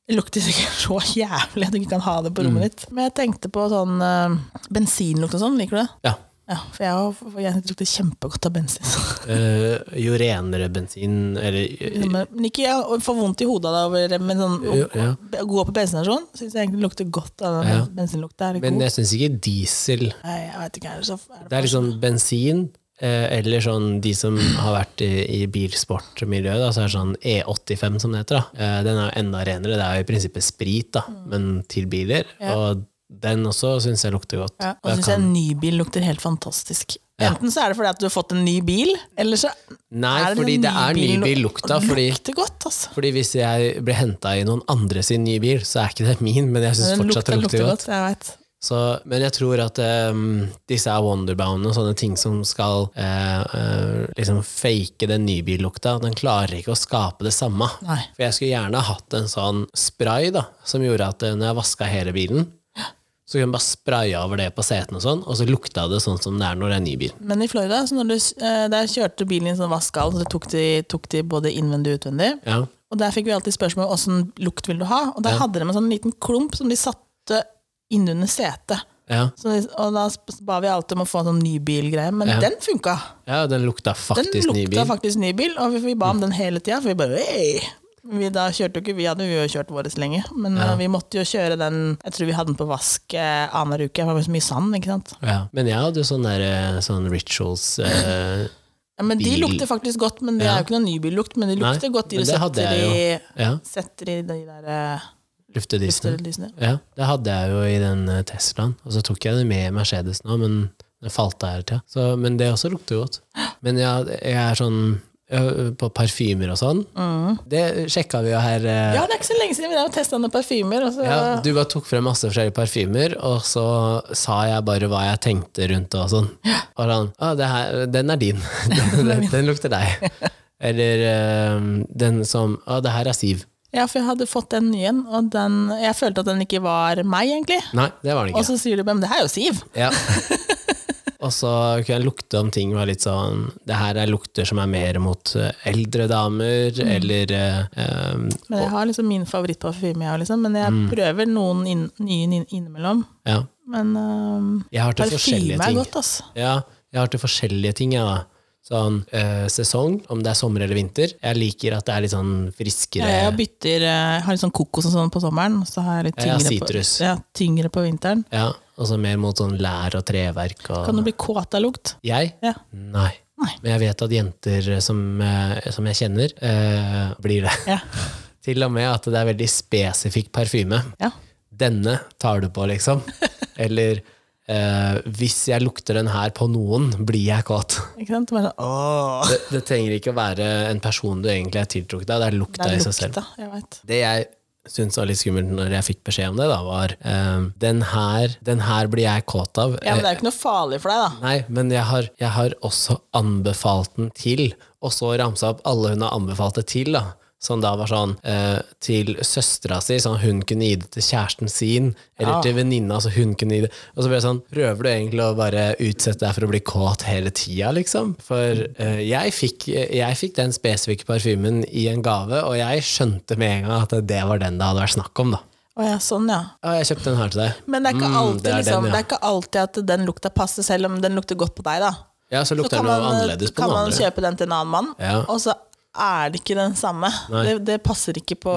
Speaker 2: Det lukter sikkert så jævlig at du ikke kan ha det på
Speaker 1: Mm.
Speaker 2: rommet ditt. Men jeg tenkte på sånn eh, bensinlukt og sånn. Liker du det?
Speaker 1: ja.
Speaker 2: Ja, for jeg, har- for jeg lukter kjempegodt av bensin.
Speaker 1: Eh, jo renere bensin, eller
Speaker 2: Liksom, Men ikke jeg får vondt i hodet av det, over- men sånn, å
Speaker 1: Jo, ja.
Speaker 2: å gå på bensinstasjon syns jeg egentlig lukter godt av den
Speaker 1: Ja.
Speaker 2: bensinlukta. Er det
Speaker 1: Men eh,
Speaker 2: god?
Speaker 1: jeg syns ikke diesel
Speaker 2: Nei, jeg vet ikke, er det så er
Speaker 1: Det er liksom bensin, eh, eller sånn de som har vært i, i bilsportmiljøet, da, så er det sånn E85 som det heter. Da. Eh, den er jo enda renere, det er jo i prinsippet sprit, da,
Speaker 2: Mm.
Speaker 1: men til biler. Og den også syns jeg lukter godt.
Speaker 2: Ja, og
Speaker 1: Da
Speaker 2: så syns jeg en ny bil lukter helt fantastisk. Enten så er det fordi at du har fått en ny bil, eller så
Speaker 1: Nei,
Speaker 2: er det
Speaker 1: fordi
Speaker 2: den
Speaker 1: det er
Speaker 2: nye bilen
Speaker 1: nybillukta,
Speaker 2: luk-
Speaker 1: fordi-
Speaker 2: lukter godt, altså.
Speaker 1: Fordi hvis jeg blir henta i noen andre sin nye bil, så er ikke det min, men jeg syns
Speaker 2: Den
Speaker 1: fortsatt det
Speaker 2: lukter,
Speaker 1: lukter godt.
Speaker 2: jeg vet.
Speaker 1: Så, men jeg tror at um, disse er wonderboundene og sånne ting som skal eh, eh, liksom fake den nybillukta, den klarer ikke å skape det samme.
Speaker 2: Nei.
Speaker 1: For jeg skulle gjerne hatt en sånn spray da, som gjorde at eh, når jeg vaska hele bilen, så kunne jeg bare spraye over det på setene og sånn, og så lukta det sånn som det er når det er en ny bil.
Speaker 2: Men i Florida, så når du, s- eh, der kjørte bilen i en sånn vaskhall, så det tok de, tok de både innvendig og utvendig.
Speaker 1: Ja.
Speaker 2: Og der fikk vi alltid spørsmål om åssen lukt vil du ha. Og der hadde de en sånn liten klump som de satte innunder setet.
Speaker 1: Ja.
Speaker 2: Så, de- og da sp- ba vi alltid om å få en sånn nybilgreie, men
Speaker 1: Ja.
Speaker 2: den funka.
Speaker 1: ja, den lukta
Speaker 2: Den
Speaker 1: faktisk ny
Speaker 2: lukta
Speaker 1: bil. Mm.
Speaker 2: faktisk nybil, og vi, vi ba om den hele tida, for vi bare «Ei!» Vi da kjørte jo ikke, vi hadde jo kjørt vår lenge, men eh, vi måtte jo kjøre den Jeg tror vi hadde den på vask eh, annenhver uke, for det var så mye sand, ikke sant.
Speaker 1: Ja. Men jeg hadde jo sånn der, eh, sånn rituals eh,
Speaker 2: Ja, men de
Speaker 1: Bil.
Speaker 2: lukter faktisk godt, men det
Speaker 1: Ja.
Speaker 2: er jo ikke noen nybillukt. Men de
Speaker 1: Nei,
Speaker 2: lukter godt, de
Speaker 1: men
Speaker 2: du
Speaker 1: det hadde
Speaker 2: setter i,
Speaker 1: jeg ja,
Speaker 2: setter i de der eh,
Speaker 1: luftedisene.
Speaker 2: luftelysene.
Speaker 1: Ja, det hadde jeg jo i den eh, Teslaen, og så tok jeg det med i Mercedesen òg, men den falt av hele tida. Så- Men det også lukter jo godt. Men ja, jeg er sånn ø, på parfymer og sånn. Det sjekka vi jo her. eh,
Speaker 2: Ja, det er ikke så lenge siden vi drev og testa noen parfymer. Og så,
Speaker 1: ja, du bare tok frem masse forskjellige parfymer, og så sa jeg bare hva jeg tenkte rundt det og sånn. Og sånn Å, det her, den er din. Den, den, den lukter deg. Eller eh, den som Å, det her er Siv.
Speaker 2: ja, for jeg hadde fått den nye en, og den, jeg følte at den ikke var meg, egentlig.
Speaker 1: Nei, det var den ikke.
Speaker 2: Og så sier du men det her er jo Siv!
Speaker 1: Ja. Og så kunne jeg lukte om ting var litt sånn Det her er lukter som er mer mot eh, eldre damer,
Speaker 2: Mm.
Speaker 1: eller eh, em,
Speaker 2: Men jeg har liksom min favorittparfyme, jeg òg, liksom. Men jeg
Speaker 1: Mm.
Speaker 2: prøver noen inn, nye inn, innimellom.
Speaker 1: Ja.
Speaker 2: Men øhm,
Speaker 1: Jeg har til
Speaker 2: parfyme
Speaker 1: forskjellige
Speaker 2: er
Speaker 1: ting.
Speaker 2: godt, altså.
Speaker 1: Ja, jeg har til forskjellige ting, jeg, da. Sånn eh, sesong, om det er sommer eller vinter. Jeg liker at det er litt sånn friskere.
Speaker 2: Jeg bytter, eh, har litt sånn kokos og sånn på sommeren, og så har jeg litt
Speaker 1: Ja, jeg har
Speaker 2: tyngre,
Speaker 1: sitrus.
Speaker 2: på, ja, tyngre på vinteren.
Speaker 1: Ja, og så mer mot sånn lær og treverk og
Speaker 2: Kan du bli kåt av lukt?
Speaker 1: Jeg?
Speaker 2: Ja.
Speaker 1: Nei.
Speaker 2: Nei.
Speaker 1: Men jeg vet at jenter som, eh, som jeg kjenner, eh, blir det.
Speaker 2: Ja.
Speaker 1: Til og med at det er veldig spesifikk parfyme.
Speaker 2: ja.
Speaker 1: denne tar du på, liksom. Eller eh, hvis jeg lukter den her på noen, blir jeg kåt.
Speaker 2: Ikke sant? Bare sånn, åh,
Speaker 1: Det, det trenger ikke å være en person du egentlig er tiltrukket av, det er lukta
Speaker 2: det
Speaker 1: i
Speaker 2: er
Speaker 1: seg selv.
Speaker 2: lukta, jeg vet.
Speaker 1: Det jeg syntes var litt skummelt når jeg fikk beskjed om det, da, var eh, den, her, den her blir jeg kåt av.
Speaker 2: Ja, men det er jo ikke noe farlig for deg, da.
Speaker 1: Nei, men jeg har, jeg har også anbefalt den til, og så ramsa opp alle hun har anbefalt det til, da. Som da var sånn eh, til søstera si, sånn hun kunne gi det til kjæresten sin, eller
Speaker 2: Ja.
Speaker 1: til venninna, så hun kunne gi det. Og så ble jeg sånn, prøver du egentlig å bare utsette deg for å bli kåt hele tida, liksom? For eh, jeg, fikk, jeg fikk den spesifikke parfymen i en gave, og jeg skjønte med en gang at det var den det hadde vært snakk om, da.
Speaker 2: Å ja, sånn, ja.
Speaker 1: Ja, jeg kjøpte den her til deg.
Speaker 2: Men det er ikke
Speaker 1: Mm,
Speaker 2: alltid,
Speaker 1: det er
Speaker 2: liksom,
Speaker 1: den, ja.
Speaker 2: det er ikke alltid at den lukta passer, selv om den lukter godt på deg. da.
Speaker 1: Ja, så
Speaker 2: Så
Speaker 1: lukter
Speaker 2: kan
Speaker 1: den noe
Speaker 2: man, eh,
Speaker 1: annerledes på
Speaker 2: kan
Speaker 1: den
Speaker 2: man
Speaker 1: andre.
Speaker 2: kjøpe den til en annen mann,
Speaker 1: Ja.
Speaker 2: og så er det ikke den samme.
Speaker 1: Nei.
Speaker 2: Det, det passer ikke på,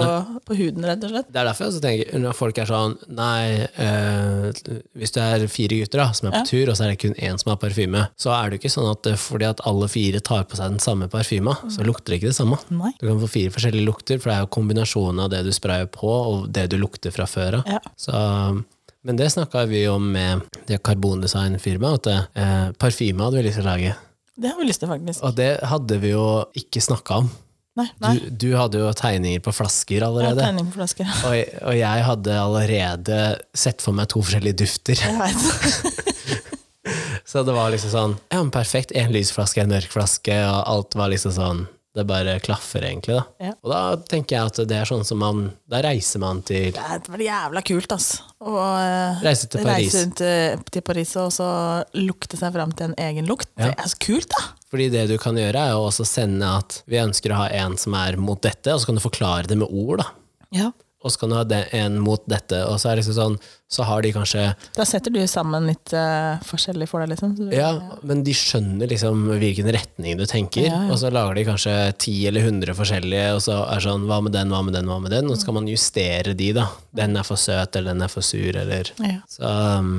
Speaker 2: på huden, rett og slett.
Speaker 1: Det er derfor jeg også tenker når folk er sånn Nei, eh, hvis du er fire gutter da, som er på
Speaker 2: Ja.
Speaker 1: tur, og så er det kun én som har parfyme, så er det jo ikke sånn at eh, fordi at alle fire tar på seg den samme parfyma,
Speaker 2: Mm.
Speaker 1: så lukter det ikke det samme.
Speaker 2: Nei.
Speaker 1: Du kan få fire forskjellige lukter, for det er jo kombinasjonen av det du sprayer på, og det du lukter fra før av.
Speaker 2: Ja.
Speaker 1: Så, Men det snakka vi om med det karbondesignfirmaet, at eh, parfyme hadde vi lyst til å lage.
Speaker 2: Det har vi lyst til, faktisk.
Speaker 1: Og det hadde vi jo ikke snakka om.
Speaker 2: Nei, nei.
Speaker 1: Du, du hadde jo tegninger på flasker
Speaker 2: Jeg har
Speaker 1: allerede.
Speaker 2: tegning på flasker.
Speaker 1: Og, og jeg hadde allerede sett for meg to forskjellige dufter.
Speaker 2: Jeg vet.
Speaker 1: Så det var liksom sånn Ja, men perfekt. En lys flaske, en mørk flaske, og alt var liksom sånn Det bare klaffer, egentlig, da.
Speaker 2: Ja.
Speaker 1: Og da tenker jeg at det er sånn som man Da reiser man til
Speaker 2: Det er veldig jævla kult, ass. Og, eh,
Speaker 1: Reise til Paris.
Speaker 2: Reise til, til Paris og så lukte seg fram til en egen lukt. Det er så kult, da!
Speaker 1: Fordi det du kan gjøre, er jo også sende at vi ønsker å ha en som er mot dette, og så kan du forklare det med ord, da.
Speaker 2: Ja.
Speaker 1: Og så kan du ha det, en mot dette, og så er det liksom sånn Så har de kanskje
Speaker 2: Da setter du sammen litt eh, forskjellig for deg, liksom. Så du,
Speaker 1: Ja, men de skjønner liksom hvilken retning du tenker,
Speaker 2: Ja, ja.
Speaker 1: og så lager de kanskje 10 eller 100 forskjellige, og så er det sånn, hva med den, hva med den, hva med den, og så skal man justere de da. Den er for søt, eller den er for sur, eller...
Speaker 2: Ja.
Speaker 1: Så, um,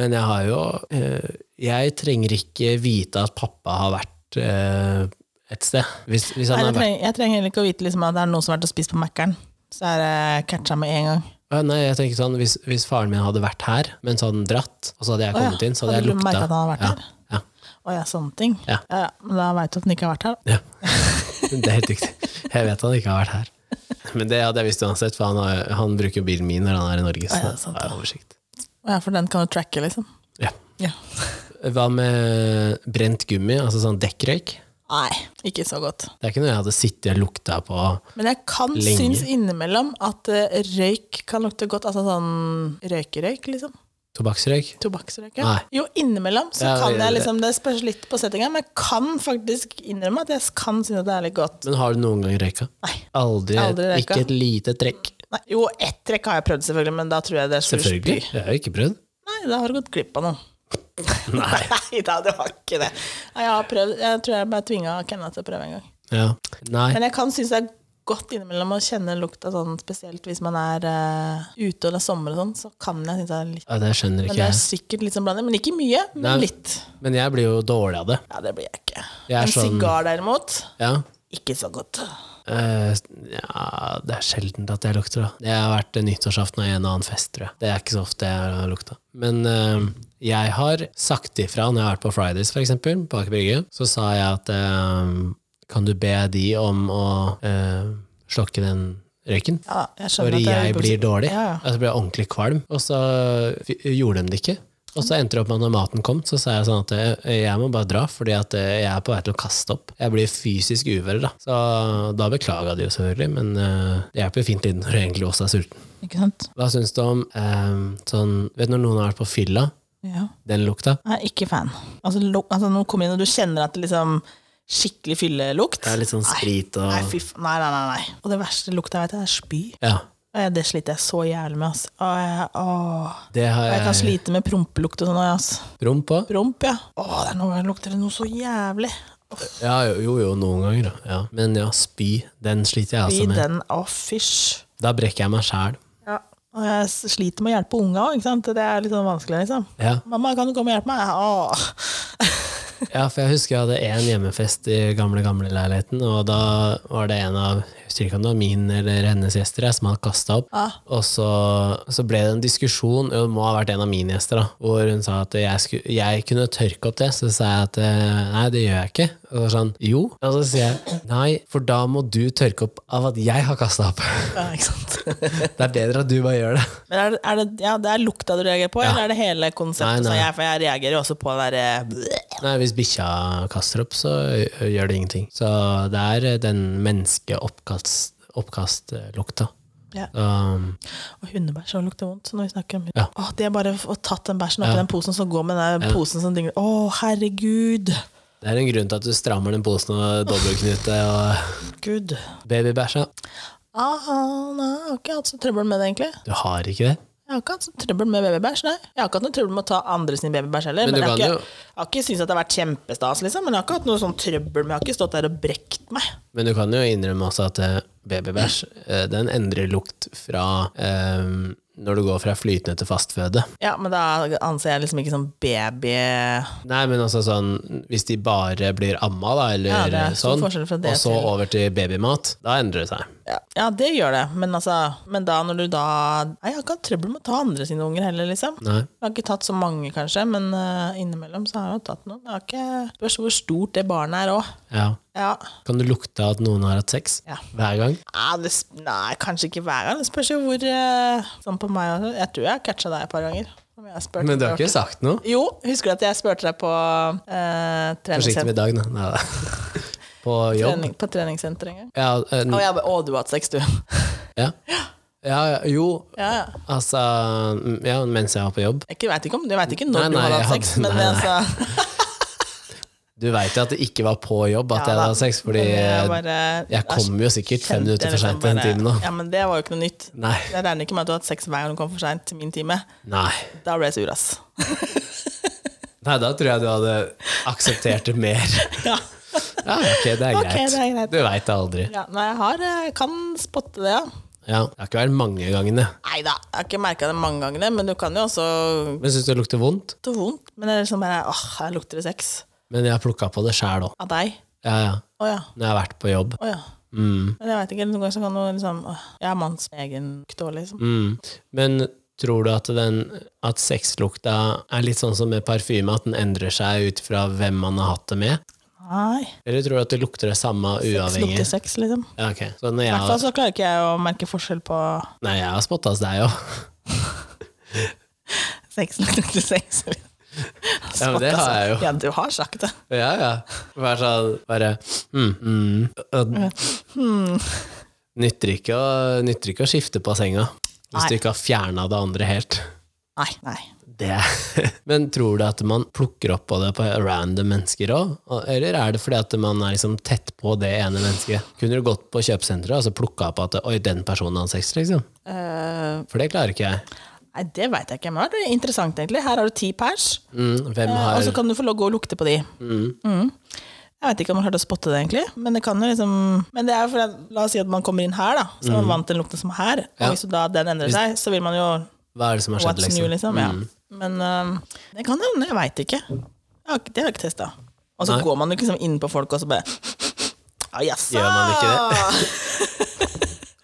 Speaker 1: men jeg har jo... eh, Jeg trenger ikke vite at pappa har vært eh, et sted. Hvis, hvis han har
Speaker 2: Nei, jeg,
Speaker 1: vært...
Speaker 2: trenger, jeg trenger heller ikke å vite liksom, at det er noen som har vært og spist på Mækkern. Så er det catcha med en gang.
Speaker 1: Å, Nei, jeg tenker sånn, hvis, hvis faren min hadde vært her, mens han dratt, og så hadde jeg
Speaker 2: Å ja,
Speaker 1: kommet inn, så hadde,
Speaker 2: hadde
Speaker 1: jeg
Speaker 2: du
Speaker 1: lukta.
Speaker 2: merket at han hadde vært her?
Speaker 1: ja, her?
Speaker 2: Å ja, sånne ting.
Speaker 1: Ja.
Speaker 2: Ja, ja, men da veit du at den ikke har vært her. da.
Speaker 1: Ja, det er helt riktig. Jeg vet han ikke har vært her. Men det hadde jeg visst uansett, for han, har, han bruker jo bilen min når han er i Norge. Så
Speaker 2: Ja,
Speaker 1: ja,
Speaker 2: sant
Speaker 1: har jeg oversikt.
Speaker 2: Å ja, for den kan du tracke, liksom.
Speaker 1: Ja.
Speaker 2: Ja.
Speaker 1: Hva med brent gummi, altså sånn dekkrøyk?
Speaker 2: Nei, ikke så godt.
Speaker 1: Det er ikke noe jeg hadde sittet og lukta på.
Speaker 2: Men jeg kan
Speaker 1: Lenge.
Speaker 2: synes innimellom at eh, røyk kan lukte godt. Altså sånn røykerøyk, liksom.
Speaker 1: Tobakksrøyk?
Speaker 2: Tobakksrøyk.
Speaker 1: Nei.
Speaker 2: Ja. Jo, innimellom så
Speaker 1: Ja,
Speaker 2: kan
Speaker 1: det-
Speaker 2: jeg liksom Det spørs litt på settinga, men jeg kan faktisk innrømme at jeg kan synes at det er litt godt.
Speaker 1: Men har du noen gang røyka?
Speaker 2: Nei.
Speaker 1: Aldri.
Speaker 2: Aldri røyka.
Speaker 1: Ikke et lite trekk.
Speaker 2: Nei, jo, ett trekk har jeg prøvd, selvfølgelig, men da tror jeg det er slutt.
Speaker 1: Selvfølgelig. Jeg har jo ikke prøvd.
Speaker 2: Nei, da har du gått glipp av noe.
Speaker 1: Nei.
Speaker 2: Nei da, det var ikke det. Nei, Jeg, har prøvd, jeg tror jeg ble tvinga av Kenna til å prøve en gang.
Speaker 1: Ja. Nei.
Speaker 2: Men jeg kan synes det er godt innimellom å kjenne lukta sånn, spesielt hvis man er eh, ute og det er sommer og sånn, så kan jeg synes det er litt
Speaker 1: Ja, det skjønner
Speaker 2: Men
Speaker 1: ikke
Speaker 2: det er
Speaker 1: jeg.
Speaker 2: sikkert litt sånn blanding. Men ikke mye, men
Speaker 1: Nei.
Speaker 2: litt.
Speaker 1: Men jeg blir jo dårlig av det.
Speaker 2: Ja, det blir jeg ikke.
Speaker 1: Jeg er
Speaker 2: en
Speaker 1: sånn-
Speaker 2: sigar derimot,
Speaker 1: Ja.
Speaker 2: ikke så godt.
Speaker 1: Eh, ja, det er sjelden at jeg lukter, da. Det har vært eh, nyttårsaften og en og annen fest, tror jeg. Det er ikke så ofte jeg har lukta. Men eh, jeg har sagt ifra når jeg har vært på Fridays, for eksempel, på Aker Brygge. Så sa jeg at eh, kan du be de om å eh, slokke den røyken?
Speaker 2: Ja, jeg
Speaker 1: For
Speaker 2: skjønner at det er
Speaker 1: jeg
Speaker 2: ubehagelig.
Speaker 1: blir dårlig.
Speaker 2: Ja, ja.
Speaker 1: Og så blir jeg ordentlig kvalm. Og så f- gjorde de det ikke. Og så endte det opp med at når maten kom, så sa jeg sånn at eh, jeg må bare dra, fordi at eh, jeg er på vei til å kaste opp. Jeg blir fysisk uvel, da. Så da beklaga de jo selvfølgelig, men eh, det hjelper jo fint litt når du egentlig også er sulten.
Speaker 2: Ikke sant?
Speaker 1: Hva syns du om eh, sånn Vet du når noen har vært på fylla?
Speaker 2: Ja.
Speaker 1: Den lukta?
Speaker 2: Jeg er ikke fan. Altså, lu- altså når du kommer inn og du kjenner at det liksom skikkelig fyllelukt
Speaker 1: Det er litt sånn sprit og
Speaker 2: Nei, fy f... Nei, nei, nei, nei. Og det verste lukta jeg vet, er spy.
Speaker 1: Ja.
Speaker 2: Og jeg- Det sliter jeg så jævlig med, ass. Og jeg, åh.
Speaker 1: Det har
Speaker 2: Og jeg kan
Speaker 1: jeg
Speaker 2: slite med prompelukt og sånn, ass.
Speaker 1: rom på.
Speaker 2: Promp, ja. Åh, det er noen ganger lukter det noe så jævlig. Åh,
Speaker 1: Ja, jo, jo, jo, noen ganger, da. ja. Men ja, spy, den sliter jeg
Speaker 2: I
Speaker 1: altså med.
Speaker 2: den, åh, fysj.
Speaker 1: Da brekker jeg meg sjæl.
Speaker 2: Ja. Og jeg s- sliter med å hjelpe unga òg, ikke sant. Det er litt sånn vanskelig, liksom.
Speaker 1: Ja.
Speaker 2: Mamma, kan du komme og hjelpe meg? Åh.
Speaker 1: Ja, for jeg husker jeg hadde en hjemmefest i gamle, gamle leiligheten, og da var det en av, jeg husker ikke om det var min eller hennes gjester, jeg, som hadde kastet opp.
Speaker 2: Ah.
Speaker 1: Og så, så ble det en diskusjon, og det må ha vært en av mine gjester da, hvor hun sa at jeg, skulle, jeg kunne tørke opp det, så sa jeg at eh, nei, det gjør jeg ikke. Og så var det sånn, jo. Og så sier jeg, nei, for da må du tørke opp av at jeg har kastet opp.
Speaker 2: Ja, ikke sant.
Speaker 1: Det er bedre at du bare gjør det.
Speaker 2: Men er det, er det, ja, det er lukta du reagerer på, eller er det hele konseptet?
Speaker 1: Nei, nei.
Speaker 2: som jeg, for jeg reagerer jo også på eh, det derre
Speaker 1: Nei, hvis bikkja kaster opp, så ø- gjør det ingenting. Så det er den menneskeoppkastlukta.
Speaker 2: Ja.
Speaker 1: Um,
Speaker 2: Og hundebæsj har lukter vondt når vi snakker om hund.
Speaker 1: Ja.
Speaker 2: Åh, det er bare å få tatt den bæsjen oppi den posen, så gå med den posen som dingler. Å, herregud!
Speaker 1: det er en grunn til at du strammer den posen og dobbeltknute og
Speaker 2: Gud.
Speaker 1: babybæsja.
Speaker 2: Ah, nei, jeg har ikke hatt så trøbbel med det, egentlig.
Speaker 1: Du har ikke det?
Speaker 2: Jeg har ikke hatt så trøbbel med babybæsj. nei. Jeg har ikke hatt noe trøbbel med å ta andre sin babybæsj heller.
Speaker 1: Men du
Speaker 2: Men, jeg,
Speaker 1: kan
Speaker 2: har ikke, jeg har ikke syntes at det har vært kjempestas, liksom. Men jeg har ikke hatt noe sånn trøbbel med Jeg har ikke stått der og brekt meg.
Speaker 1: Men du kan jo innrømme også at eh, babybæsj eh, den endrer lukt fra eh, når du går fra flytende til fastføde.
Speaker 2: Ja, men da anser jeg liksom ikke som baby
Speaker 1: Nei, men også sånn hvis de bare blir amma, da, eller
Speaker 2: Ja, det er stor
Speaker 1: sånn,
Speaker 2: forskjell fra det
Speaker 1: og så
Speaker 2: til-
Speaker 1: over til babymat, da endrer det seg.
Speaker 2: Ja, ja det gjør det. Men altså Men da når du da Nei, jeg har ikke hatt trøbbel med å ta andre sine unger heller, liksom.
Speaker 1: Nei.
Speaker 2: Jeg har ikke tatt så mange, kanskje, men eh, innimellom så har jeg jo tatt noen. Jeg har ikke Spørs hvor stort det barnet er òg.
Speaker 1: Ja.
Speaker 2: Ja.
Speaker 1: Kan du lukte at noen har hatt sex
Speaker 2: Ja.
Speaker 1: hver gang?
Speaker 2: Ja, Ah, det, sp- nei, kanskje ikke hver gang. Det spørs jo hvor eh, Sånn på meg også. Jeg tror jeg har catcha deg et par ganger. om jeg har spurt.
Speaker 1: Men du har ikke sagt noe?
Speaker 2: Jo, husker du at jeg spurte deg på eh,
Speaker 1: Forsiktig
Speaker 2: treningssenter,
Speaker 1: med dag, da. Nei, da. På jobb?
Speaker 2: trening, på treningssenter en gang?
Speaker 1: Ja, eh,
Speaker 2: Og jeg bare Å, du har hatt sex, du.
Speaker 1: ja. ja, jo,
Speaker 2: Ja, ja.
Speaker 1: altså ja, Mens jeg var på jobb.
Speaker 2: Jeg vet ikke, om, jeg vet ikke
Speaker 1: Nei,
Speaker 2: når
Speaker 1: nei,
Speaker 2: du har
Speaker 1: jeg
Speaker 2: hatt sex,
Speaker 1: hadde-
Speaker 2: men
Speaker 1: nei, nei.
Speaker 2: altså
Speaker 1: Du veit jo at det ikke var på jobb at
Speaker 2: Ja,
Speaker 1: jeg
Speaker 2: da.
Speaker 1: hadde hatt sex, fordi
Speaker 2: Jeg bare-
Speaker 1: jeg kom jo sikkert fem
Speaker 2: kjente
Speaker 1: minutter for
Speaker 2: liksom
Speaker 1: seint til den
Speaker 2: bare-
Speaker 1: timen nå.
Speaker 2: Ja, men det var jo ikke noe nytt.
Speaker 1: Nei.
Speaker 2: Jeg regner ikke med at du har hatt sex hver gang du kom for seint til min time.
Speaker 1: Nei.
Speaker 2: Da ble jeg sur, ass.
Speaker 1: Nei, da tror jeg du hadde akseptert det mer.
Speaker 2: Ja.
Speaker 1: Ja, ok, det er
Speaker 2: Ok,
Speaker 1: greit.
Speaker 2: det er greit.
Speaker 1: Du veit det aldri.
Speaker 2: ja, nei, jeg har, eh, kan spotte det, ja.
Speaker 1: Ja, Det har ikke vært mange gangene.
Speaker 2: Nei da, jeg har ikke merka det mange ganger, men du kan jo også
Speaker 1: Men syns du det lukter vondt?
Speaker 2: lukte vondt. Men det er liksom bare åh, her lukter det sex.
Speaker 1: Men jeg har plukka på det sjæl òg.
Speaker 2: Av deg.
Speaker 1: Ja, ja.
Speaker 2: Å ja.
Speaker 1: Når jeg har vært på jobb.
Speaker 2: Å ja.
Speaker 1: Mm.
Speaker 2: Men jeg veit ikke, noen ganger så kan du liksom åh, Jeg er manns egen lukt òg, liksom.
Speaker 1: Mm. Men tror du at, den, at sexlukta er litt sånn som med parfyme, at den endrer seg ut fra hvem man har hatt det med?
Speaker 2: Nei.
Speaker 1: Eller tror du at det lukter det samme
Speaker 2: Sex
Speaker 1: uavhengig?
Speaker 2: lukter sex, liksom. I
Speaker 1: Ja, ok. Så når jeg,
Speaker 2: hvert fall så klarer ikke jeg å merke forskjell på
Speaker 1: nei, jeg har spotta hos deg òg.
Speaker 2: sex lukter sex. liksom.
Speaker 1: Ja, men det har jeg jo.
Speaker 2: Ja, du har sagt det.
Speaker 1: Ja, ja. Bare sånn bare, mm, mm. Og,
Speaker 2: Hmm.
Speaker 1: nytter, ikke å, nytter ikke å skifte på senga hvis
Speaker 2: Nei.
Speaker 1: du ikke har fjerna det andre helt.
Speaker 2: Nei. nei.
Speaker 1: Det. Men tror du at man plukker opp på det på random mennesker òg? Eller er det fordi at man er liksom tett på det ene mennesket? Kunne du gått på kjøpesenteret og så plukka opp at Oi, den personen har sex, liksom?
Speaker 2: Eh,
Speaker 1: For det klarer ikke jeg.
Speaker 2: nei, det veit jeg ikke. Men det er interessant, egentlig. Her har du ti pers.
Speaker 1: Mm, hvem
Speaker 2: Eh, Og
Speaker 1: har
Speaker 2: så kan du få lov å gå og lukte på de. Mm. Jeg vet ikke om man klarte å spotte det, egentlig. Men det kan jo liksom Men det er jo fordi at- La oss si at man kommer inn her, da. Så er man vant til den lukten som er her. Og
Speaker 1: Mm. Ja.
Speaker 2: hvis jo da den endrer seg, så vil man jo
Speaker 1: Hva er det som har skjedd,
Speaker 2: What's new,
Speaker 1: liksom?
Speaker 2: liksom. Ja. Men eh, det kan hende. Jeg veit ikke. Jeg har ikke. Det har jeg ikke testa. Og så
Speaker 1: Nei.
Speaker 2: går man jo liksom inn på folk, og så bare Ja, jaså!
Speaker 1: Gjør man ikke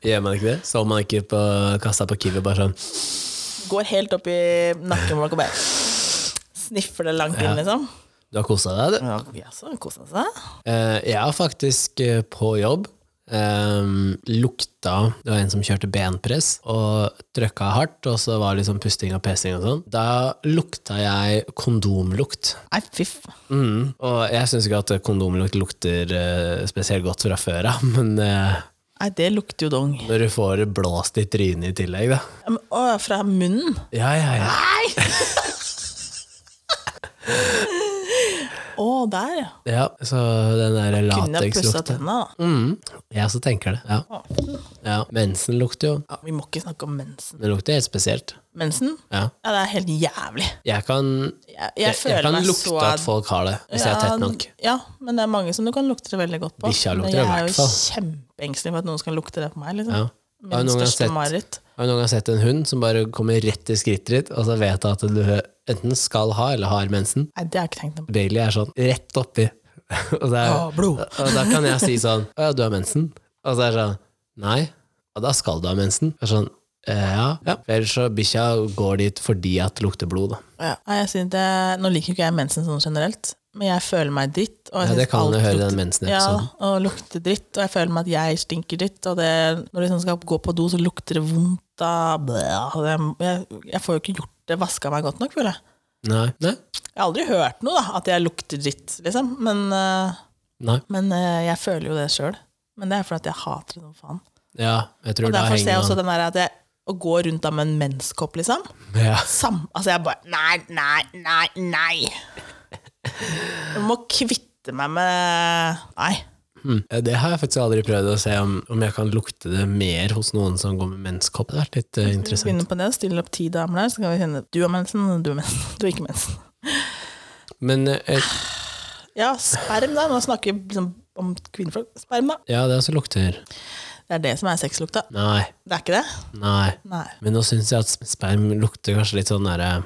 Speaker 1: Gjør man ikke det? Så man ikke på kassa på Kiwi bare sånn
Speaker 2: Går helt opp i nakken på folk og bare sniffer det langt inn, liksom.
Speaker 1: Du har kosa deg, du?
Speaker 2: Ja, Jaså, kosa seg?
Speaker 1: Eh, jeg har faktisk eh, på jobb eh, lukta Det var en som kjørte benpress og trøkka hardt, og så var det liksom pusting og pesing og sånn. Da lukta jeg kondomlukt.
Speaker 2: Nei, fy f...
Speaker 1: Mm. Og jeg syns ikke at kondomlukt lukter eh, spesielt godt fra før av, men eh,
Speaker 2: Nei, det lukter jo dong.
Speaker 1: når du får det blåst i trynet i tillegg, da.
Speaker 2: Ja, men, Å, fra munnen?
Speaker 1: Ja, ja, ja.
Speaker 2: Å, der, ja.
Speaker 1: ja så den der
Speaker 2: Kunne jeg
Speaker 1: latekslukta
Speaker 2: pussa tenna, da?
Speaker 1: mm. Jeg også tenker det. Ja. ja. Mensen lukter jo.
Speaker 2: Ja, vi må ikke snakke om mensen.
Speaker 1: Det lukter helt spesielt.
Speaker 2: Mensen?
Speaker 1: Ja.
Speaker 2: Ja, det er helt jævlig.
Speaker 1: Jeg kan,
Speaker 2: Jeg, jeg,
Speaker 1: jeg, jeg
Speaker 2: føler
Speaker 1: kan
Speaker 2: meg
Speaker 1: lukte
Speaker 2: så
Speaker 1: at folk har det, hvis jeg er tett nok.
Speaker 2: Ja, men det er mange som du kan lukte det veldig godt på.
Speaker 1: Bikkja
Speaker 2: Men
Speaker 1: lukter det i
Speaker 2: jeg er
Speaker 1: hvert
Speaker 2: jo
Speaker 1: fall.
Speaker 2: kjempeengstelig for at noen skal lukte det på meg. Liksom.
Speaker 1: Ja. Har du
Speaker 2: Min
Speaker 1: noen gang
Speaker 2: største
Speaker 1: sett-
Speaker 2: mareritt.
Speaker 1: Har du noen gang sett en hund som bare kommer rett i skrittet ditt, og så vet jeg at du enten skal ha eller har mensen?
Speaker 2: Nei, det har jeg ikke tenkt på.
Speaker 1: Bailey er sånn rett oppi. Og, det er,
Speaker 2: Å, blod.
Speaker 1: og da kan jeg si sånn Å ja, du har mensen? Og så er det sånn Nei, og da skal du ha mensen. Og sånn, «Eh, ja, ja. For Ellers så bikkja går dit fordi at det lukter blod, da.
Speaker 2: Ja. Nei, jeg synes det, nå liker jo ikke jeg mensen sånn generelt, men jeg føler meg dritt. Og jeg
Speaker 1: Ja, det
Speaker 2: synes
Speaker 1: kan du
Speaker 2: alt
Speaker 1: høre i
Speaker 2: lukter-
Speaker 1: den
Speaker 2: Ja,
Speaker 1: mensen-episoden.
Speaker 2: og lukter dritt, og jeg føler meg at jeg stinker dritt. Og det, når du liksom skal gå på do, så lukter det vondt av blæh, og det, jeg, jeg får jo ikke gjort det, vaska meg godt nok, føler jeg.
Speaker 1: Nei. Nei.
Speaker 2: Jeg har aldri hørt noe, da, at jeg lukter dritt, liksom. Men, eh,
Speaker 1: Nei.
Speaker 2: men eh, jeg føler jo det sjøl. Men det er fordi at jeg hater det som faen.
Speaker 1: Ja, jeg tror
Speaker 2: Og
Speaker 1: da
Speaker 2: derfor ser jeg også
Speaker 1: henger man
Speaker 2: den der at jeg å gå rundt da med en menskopp, liksom.
Speaker 1: ja.
Speaker 2: Sam, altså jeg bare Nei, nei, nei, nei. Jeg må kvitte meg med Nei.
Speaker 1: Mm. Eh, Det har jeg faktisk aldri prøvd å se om, om jeg kan lukte det mer hos noen som går med menskopp. Det har vært litt eh,
Speaker 2: Vi
Speaker 1: interessant.
Speaker 2: begynner på det, stiller opp ti damer der, så kan vi kjenne du har mensen, du har mensen, du har ikke mensen.
Speaker 1: Men eh,
Speaker 2: Ja, sperm, da. Nå snakker vi liksom om kvinnfolk. Sperm, da.
Speaker 1: ja, det også lukter
Speaker 2: Det er det som er sexlukta.
Speaker 1: Nei,
Speaker 2: Det er ikke det?
Speaker 1: nei.
Speaker 2: Nei.
Speaker 1: Men nå syns jeg at sperm lukter kanskje litt sånn derre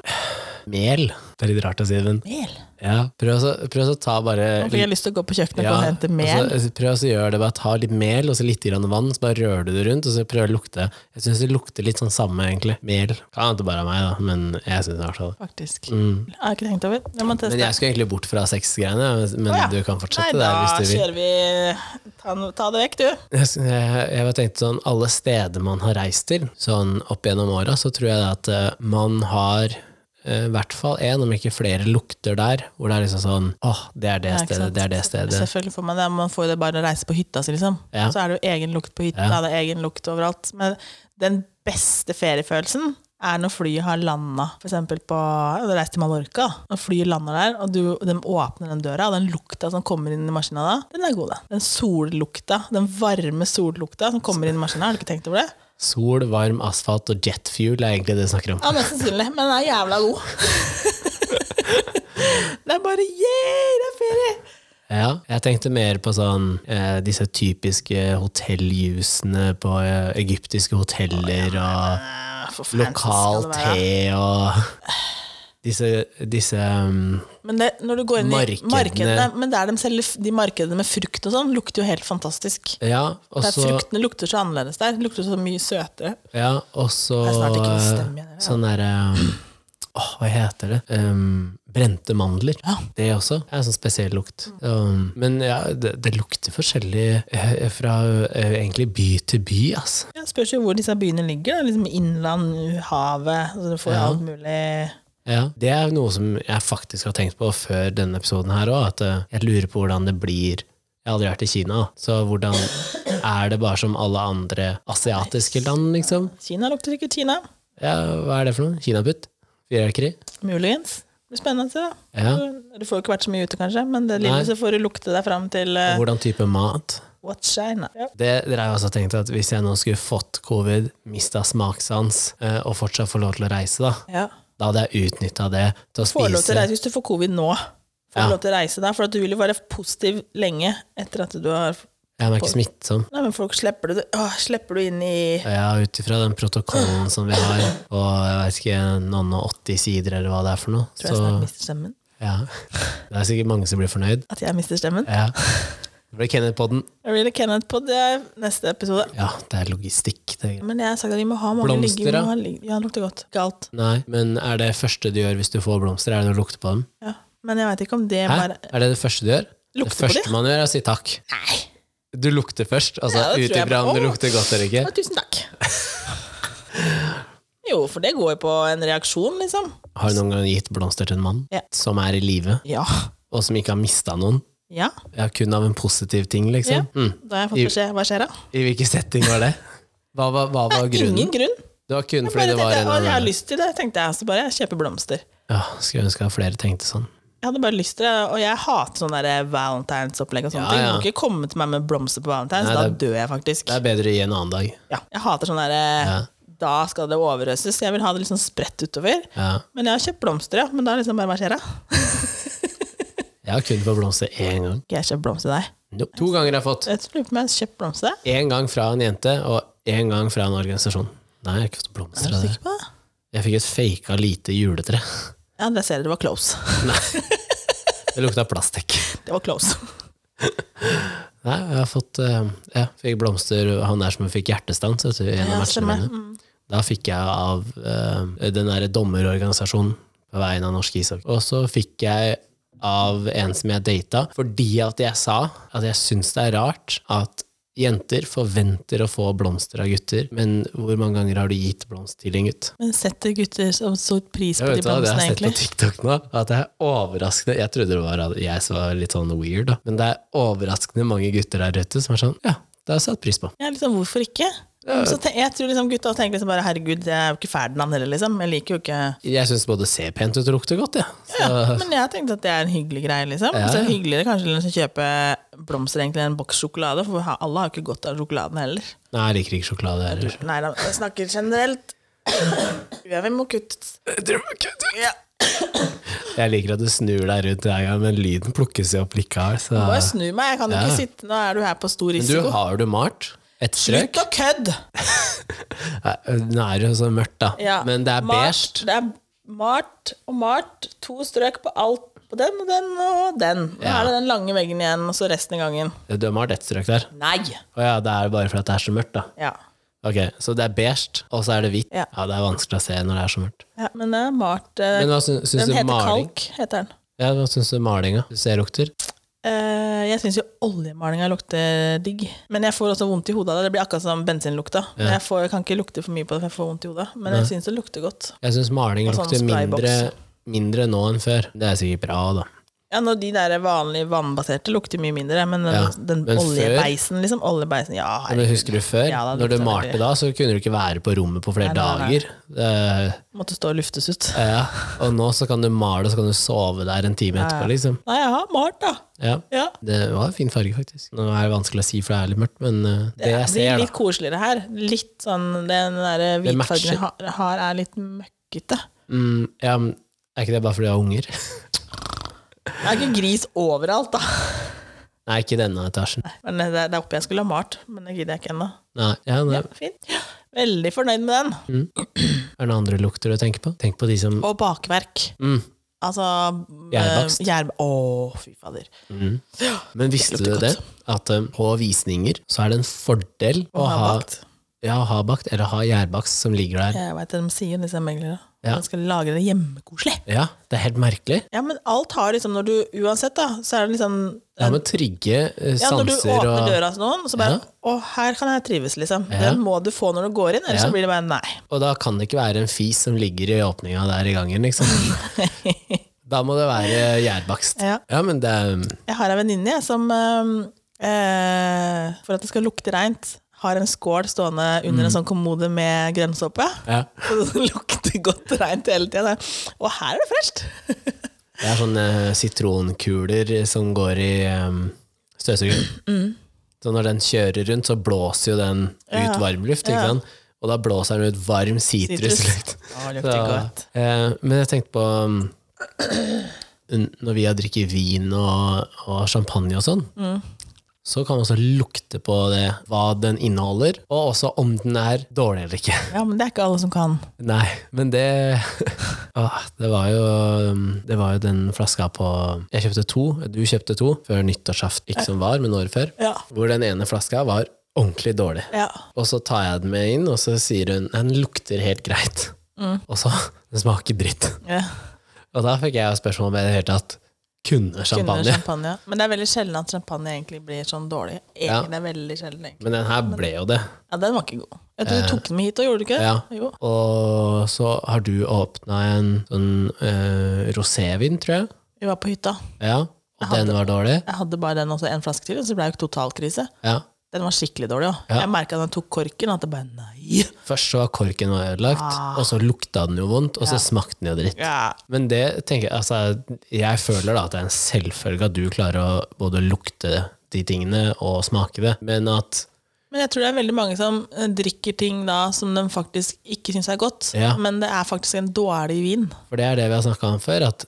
Speaker 1: mel. Det er litt rart å si, men
Speaker 2: Mel.
Speaker 1: ja. Prøv å så- prøv å så ta bare
Speaker 2: Nå fikk jeg lyst til å gå på kjøkkenet og hente mel.
Speaker 1: og så eh, prøv å så gjøre det, bare ta litt mel og så litt grann vann, så bare rører du det rundt, og så prøver du å lukte. Jeg syns det lukter litt sånn samme, egentlig. Mel. Kan hende det bare er meg, da, men jeg syns det i hvert fall det.
Speaker 2: Faktisk. Jeg har ikke tenkt over. Jeg må teste.
Speaker 1: mm. Men jeg skulle egentlig bort fra sexgreiene, men
Speaker 2: Å ja.
Speaker 1: du kan fortsette
Speaker 2: Nei,
Speaker 1: der
Speaker 2: da
Speaker 1: hvis du vil.
Speaker 2: kjører vi ta, ta det vekk, du.
Speaker 1: Jeg, jeg, jeg bare tenkte sånn, alle steder man har reist til, sånn opp gjennom åra, så tror jeg at eh, man har eh, i hvert fall én, om ikke flere, lukter der, hvor det er liksom sånn åh, det er det
Speaker 2: Ja, ikke
Speaker 1: stedet,
Speaker 2: sant?
Speaker 1: det er det stedet.
Speaker 2: Selvfølgelig får man det. Man får jo det bare å reise på hytta si, liksom.
Speaker 1: Ja.
Speaker 2: Så er det jo egen lukt på hytta,
Speaker 1: Ja.
Speaker 2: det er egen lukt overalt. Men den beste feriefølelsen er når flyet har landa, f.eks. på Jeg hadde reist til Mallorca. Når flyet lander der, og du, de åpner den døra, og den lukta som kommer inn i maskina da, den er god, den. Den sollukta, den varme sollukta som kommer inn i maskina, har du ikke tenkt over det?
Speaker 1: Sol, varm asfalt og jetfuel er egentlig det du snakker om.
Speaker 2: Ja, mest sannsynlig, men den er jævla god. det er bare yeah, det er ferie!
Speaker 1: Ja, jeg tenkte mer på sånn eh, disse typiske hotelljusene på eh, egyptiske hoteller og
Speaker 2: Ah, For fancy skal
Speaker 1: lokal
Speaker 2: det være.
Speaker 1: te og disse, disse um,
Speaker 2: Men det, når du går inn i
Speaker 1: Markedene.
Speaker 2: markedene Men der de selger f- de markedene med frukt og sånn, lukter jo helt fantastisk.
Speaker 1: Ja, altså- og
Speaker 2: Der
Speaker 1: så
Speaker 2: fruktene lukter så annerledes der. Det Lukter så mye søtere.
Speaker 1: Ja, og så
Speaker 2: Det er snart ikke stemme igjen, eller?
Speaker 1: Sånn derre Åh, hva heter det? Um, brente mandler.
Speaker 2: Ja.
Speaker 1: Det også er en sånn spesiell lukt. Um, men ja, det, det lukter forskjellig eh, fra eh, egentlig by til by, ass.
Speaker 2: Ja, spørs jo hvor disse byene ligger. Da. Liksom Innland, havet altså Du får jo
Speaker 1: Ja.
Speaker 2: alt mulig.
Speaker 1: Ja, det er noe som jeg faktisk har tenkt på før denne episoden her òg, at eh, jeg lurer på hvordan det blir Jeg har aldri vært i Kina, så hvordan er det bare som alle andre asiatiske land, liksom?
Speaker 2: Kina lukter sikkert Kina.
Speaker 1: Ja, hva er det for noe? Kinaputt? Fyrverkeri?
Speaker 2: Muligens. Det blir spennende å se. da.
Speaker 1: Ja.
Speaker 2: Du får jo ikke vært så mye ute, kanskje, men det
Speaker 1: Nei.
Speaker 2: lille så får du lukte deg fram til eh,
Speaker 1: Hvordan type mat?
Speaker 2: What's China? Ja.
Speaker 1: Det dere har jo også tenkt at Hvis jeg nå skulle fått covid, mista smakssans eh, og fortsatt få lov til å reise, da
Speaker 2: Ja.
Speaker 1: da hadde jeg utnytta det til å
Speaker 2: Får du lov til å
Speaker 1: spise.
Speaker 2: reise hvis du får covid nå. Får du
Speaker 1: Ja.
Speaker 2: lov til å reise da, for at du vil jo være positiv lenge etter at du har
Speaker 1: Jeg er ikke smittsom.
Speaker 2: Nei, men folk slipper du, åh, slipper du inn i
Speaker 1: Ja, Ut ifra den protokollen som vi har, og jeg vet ikke, noen og 80 sider eller hva det er for noe,
Speaker 2: Tror jeg snart
Speaker 1: så
Speaker 2: mister stemmen.
Speaker 1: ja. Det er sikkert mange som blir fornøyd.
Speaker 2: At jeg mister stemmen.
Speaker 1: Ja. Det blir Kenneth-podden.
Speaker 2: Really Kenneth på det er neste episode.
Speaker 1: Ja, det er logistikk. Det er.
Speaker 2: Men jeg har sagt at vi må ha mange
Speaker 1: Blomster,
Speaker 2: ligge- vi må
Speaker 1: da?
Speaker 2: ha ligge- Ja, det lukter godt. Galt.
Speaker 1: Nei, men er det første du gjør hvis du får blomster, er det å lukte på dem?
Speaker 2: Ja. Men jeg veit ikke om det
Speaker 1: Hæ?
Speaker 2: bare
Speaker 1: Er det det første du gjør? det
Speaker 2: Lukte på
Speaker 1: første
Speaker 2: det?
Speaker 1: man gjør, er å si takk.
Speaker 2: Nei!
Speaker 1: Du lukter først, altså
Speaker 2: Ja, det
Speaker 1: ut
Speaker 2: tror jeg
Speaker 1: ifra om
Speaker 2: bare-
Speaker 1: det
Speaker 2: Åh.
Speaker 1: lukter godt eller ikke.
Speaker 2: Ja, tusen takk. Jo, for det går jo på en reaksjon, liksom.
Speaker 1: Har du noen gang gitt blomster til en mann
Speaker 2: Ja.
Speaker 1: som er i live,
Speaker 2: Ja.
Speaker 1: og som ikke har mista noen?
Speaker 2: Ja.
Speaker 1: Ja, kun av en positiv ting, liksom? Mm.
Speaker 2: Da har jeg fått beskjed. Hva skjer da?
Speaker 1: I hvilken setting var det? Hva var, hva var grunnen?
Speaker 2: Ingen grunn.
Speaker 1: Det var kun fordi
Speaker 2: Bare
Speaker 1: det var en
Speaker 2: tenkte, jeg, «Å, jeg har
Speaker 1: annen
Speaker 2: lyst til det, tenkte jeg. Så bare jeg kjøper blomster.
Speaker 1: ja, Skulle ønske at flere tenkte sånn.
Speaker 2: Jeg hadde bare lyst til det, og jeg hater sånn der valentinsopplegg og sånne
Speaker 1: Ja,
Speaker 2: ting. Du
Speaker 1: ja.
Speaker 2: må ikke komme til meg med blomster på valentines,
Speaker 1: Nei,
Speaker 2: da
Speaker 1: det
Speaker 2: dør jeg faktisk.
Speaker 1: Det er bedre å gi en annen dag.
Speaker 2: Ja, jeg hater sånn der Da skal det overøses. Jeg vil ha det litt sånn spredt utover.
Speaker 1: Ja.
Speaker 2: Men jeg har kjøpt blomster, ja. Men da er det liksom bare hva skjer, da?
Speaker 1: Jeg har kun fått blomster én gang.
Speaker 2: Skal jeg kjøpe blomster til deg?
Speaker 1: Nope. To ganger jeg har fått.
Speaker 2: Jeg lurer på om jeg har kjøpt blomster til deg.
Speaker 1: Én gang fra en jente, og én gang fra en organisasjon. Nei, jeg har ikke fått blomster
Speaker 2: Er du
Speaker 1: av det.
Speaker 2: sikker på det?
Speaker 1: Jeg fikk et faka lite juletre.
Speaker 2: Ja, det ser jeg det var close.
Speaker 1: Det lukta plastikk.
Speaker 2: Det var close.
Speaker 1: Nei, jeg har fått eh, Jeg fikk blomster Han der som fikk hjertestans vet du, i en av
Speaker 2: Ja,
Speaker 1: matchene
Speaker 2: stemmer.
Speaker 1: mine. Da fikk jeg av eh, den derre dommerorganisasjonen på vegne av norsk ishockey. Og så fikk jeg av en som jeg data, fordi at jeg sa at jeg syns det er rart at jenter forventer å få blomster av gutter, men hvor mange ganger har du gitt blomst til en gutt?
Speaker 2: Men setter gutter så stor pris
Speaker 1: Jeg
Speaker 2: på
Speaker 1: vet
Speaker 2: de
Speaker 1: hva, Det har
Speaker 2: blomstene,
Speaker 1: jeg sett på
Speaker 2: egentlig?
Speaker 1: TikTok nå, at det er overraskende Jeg trodde det var at jeg som var litt sånn weird, da. men det er overraskende mange gutter der ute som er sånn Ja, det har jeg satt pris på.
Speaker 2: Ja, liksom, hvorfor ikke? Så te- jeg tror liksom gutta tenker liksom bare herregud, jeg er jo ikke Ferdinand heller, liksom. Jeg liker jo ikke
Speaker 1: Jeg syns både ser pent ut og lukter godt, jeg. Ja. Så
Speaker 2: Men jeg tenkte at det er en hyggelig greie, liksom.
Speaker 1: Ja,
Speaker 2: Så
Speaker 1: ja.
Speaker 2: hyggeligere kanskje enn å kjøpe blomster egentlig enn en boks sjokolade, for vi har- alle har jo ikke godt av sjokoladen heller.
Speaker 1: Nei, jeg liker ikke sjokolade heller.
Speaker 2: Nei da, jeg snakker generelt. Ja, vi må kutte ja.
Speaker 1: Jeg liker at du snur deg rundt hver gang, men lyden plukkes jo opp likevel. Så.
Speaker 2: Bare snu meg, jeg kan jo
Speaker 1: Ja.
Speaker 2: ikke sitte Nå er du her på stor
Speaker 1: Men du,
Speaker 2: risiko.
Speaker 1: har du malt? Et strøk?
Speaker 2: Slutt å kødde!
Speaker 1: Nei, Nå er det jo så mørkt, da.
Speaker 2: Ja.
Speaker 1: Men det er
Speaker 2: Malt-
Speaker 1: beige.
Speaker 2: Det er malt og malt. To strøk på alt. På den og den og den. Nå
Speaker 1: Ja.
Speaker 2: er det den lange veggen igjen, og så resten av gangen.
Speaker 1: Du har malt ett strøk der?
Speaker 2: Nei!
Speaker 1: Å ja, det er bare fordi det er så mørkt, da.
Speaker 2: Ja.
Speaker 1: Ok, Så det er beige, og så er det hvitt.
Speaker 2: Ja.
Speaker 1: Ja. det er vanskelig å se når det er så mørkt.
Speaker 2: ja men det er malt eh,
Speaker 1: Men hva syns, syns
Speaker 2: Den
Speaker 1: du
Speaker 2: heter
Speaker 1: maling?
Speaker 2: kalk, heter den.
Speaker 1: Ja, hva syns du malinga? Du ser lukter?
Speaker 2: Eh, jeg syns jo oljemalinga lukter digg, men jeg får også vondt i hodet av det. Det blir akkurat som bensinlukta. Men Jeg, får, jeg kan ikke lukte for mye på det, for jeg får vondt i hodet. Men jeg syns det lukter godt.
Speaker 1: Jeg syns maling
Speaker 2: Og sånn
Speaker 1: lukter
Speaker 2: sprayboks.
Speaker 1: mindre, mindre nå enn før. Det er sikkert bra, da.
Speaker 2: Ja, når De der vanlige vannbaserte lukter mye mindre, men den,
Speaker 1: Ja,
Speaker 2: den
Speaker 1: men før-
Speaker 2: oljebeisen, liksom. Oljebeisen, ja,
Speaker 1: Ja, Men husker du før?
Speaker 2: Ja, da
Speaker 1: når du
Speaker 2: lukta det
Speaker 1: malte
Speaker 2: mye.
Speaker 1: da, så kunne du ikke være på rommet på flere
Speaker 2: Nei, nei, nei.
Speaker 1: dager. Eh,
Speaker 2: måtte stå og luftes ut.
Speaker 1: ja. Og nå så kan du male, så kan du sove der en time etterpå, liksom.
Speaker 2: Nei, jeg har malt, da.
Speaker 1: Ja.
Speaker 2: Ja.
Speaker 1: Det var en fin farge, faktisk. Nå er det vanskelig å si, for det er litt mørkt, men eh, det jeg
Speaker 2: blir
Speaker 1: ser,
Speaker 2: litt
Speaker 1: da
Speaker 2: koseligere her. Litt sånn, Den der hvitfargen
Speaker 1: matcher.
Speaker 2: jeg har- har, er litt møkkete.
Speaker 1: mm, ja, men Er ikke det bare fordi du har unger?
Speaker 2: Det er ikke gris overalt, da.
Speaker 1: Nei, ikke i denne etasjen.
Speaker 2: Men det, det er oppe jeg skulle ha malt, men det gidder jeg ikke ennå.
Speaker 1: Nei. Ja, nei.
Speaker 2: Ja, fint. Veldig fornøyd med den.
Speaker 1: Mm. Er det noen andre lukter du tenker på? Tenk på de som
Speaker 2: Og bakverk.
Speaker 1: mm.
Speaker 2: Altså
Speaker 1: Gjærbakst.
Speaker 2: eh, gjærb- Å, fy fader.
Speaker 1: Men visste
Speaker 2: lukter
Speaker 1: du det? At eh, på visninger så er det en fordel å ha,
Speaker 2: bakt.
Speaker 1: ja, å ha bakt eller ha gjærbakst som ligger der.
Speaker 2: Jeg veit det de sier, disse meglere.
Speaker 1: Ja.
Speaker 2: Man skal lage det hjemmekoselig.
Speaker 1: Ja, det er helt merkelig.
Speaker 2: Ja, men alt har liksom Når du Uansett, da, så er det liksom
Speaker 1: Det har med trygge eh,
Speaker 2: Ja, når du
Speaker 1: sanser
Speaker 2: åpner
Speaker 1: og
Speaker 2: døra til noen, så bare
Speaker 1: Ja.
Speaker 2: 'Å, her kan jeg trives', liksom.
Speaker 1: Ja.
Speaker 2: Den må du få når du går inn, ellers
Speaker 1: Ja.
Speaker 2: så blir det bare 'nei'.
Speaker 1: Og da kan det ikke være en fis som ligger i åpninga der i gangen, liksom. da må det være gjærbakst.
Speaker 2: Ja.
Speaker 1: men det er um,
Speaker 2: Jeg har ei venninne jeg, som eh, eh, For at det skal lukte reint, har en skål stående under
Speaker 1: Mm.
Speaker 2: en sånn kommode med grønnsåpe.
Speaker 1: ja,
Speaker 2: Og det lukter godt reint hele tida. Og her er det fresht!
Speaker 1: Det er sånne eh, sitronkuler som går i um, støvsugeren.
Speaker 2: Mm.
Speaker 1: Så når den kjører rundt, så blåser jo den
Speaker 2: Ja.
Speaker 1: ut varmluft, ikke sant? Og da blåser den ut varm sitruslukt.
Speaker 2: Å, det lukter godt.
Speaker 1: eh, men jeg tenkte på um, n- Når vi har drikket vin og, og champagne og sånn,
Speaker 2: Mm.
Speaker 1: så kan man også lukte på det, hva den inneholder, og også om den er dårlig eller ikke.
Speaker 2: Ja, men det er ikke alle som kan.
Speaker 1: Nei, men det Åh, det, var jo, um, det var jo den flaska på Jeg kjøpte to, du kjøpte to, før nyttårsaften ikke som var, men året før.
Speaker 2: Ja.
Speaker 1: Hvor den ene flaska var ordentlig dårlig.
Speaker 2: Ja.
Speaker 1: Og så tar jeg den med inn, og så sier hun den lukter helt greit.
Speaker 2: Mm.
Speaker 1: Og så den smaker dritt.
Speaker 2: ja.
Speaker 1: Og da fikk jeg jo spørsmål om jeg i det hele tatt kunne
Speaker 2: Kunne
Speaker 1: champagne.
Speaker 2: champagne. Men det er veldig sjelden at champagne egentlig blir sånn dårlig.
Speaker 1: Ja.
Speaker 2: Egentlig, Det er veldig sjelden, egentlig.
Speaker 1: Men den her ble jo det.
Speaker 2: Ja, den var ikke god. Jeg tror du tok den med hit og gjorde du ikke?
Speaker 1: Eh. Ja.
Speaker 2: Jo.
Speaker 1: Og så har du åpna en sånn eh, rosévin, tror jeg.
Speaker 2: Vi var på hytta.
Speaker 1: Ja, og den var dårlig.
Speaker 2: Jeg hadde bare den også en flaske til, og så ble det jo totalkrise.
Speaker 1: Ja.
Speaker 2: Den var skikkelig dårlig òg.
Speaker 1: Ja.
Speaker 2: Jeg merka da jeg tok korken, at det bare nei.
Speaker 1: Først så var korken var ødelagt,
Speaker 2: Ah.
Speaker 1: og så lukta den jo vondt, og så smakte den jo dritt.
Speaker 2: Ja.
Speaker 1: Men det tenker jeg, altså, jeg føler da at det er en selvfølge at du klarer å både lukte de tingene og smake det, men at
Speaker 2: Men jeg tror det er veldig mange som eh, drikker ting da som de faktisk ikke syns er godt,
Speaker 1: Ja.
Speaker 2: men det er faktisk en dårlig vin.
Speaker 1: For det er det vi har snakka om før, at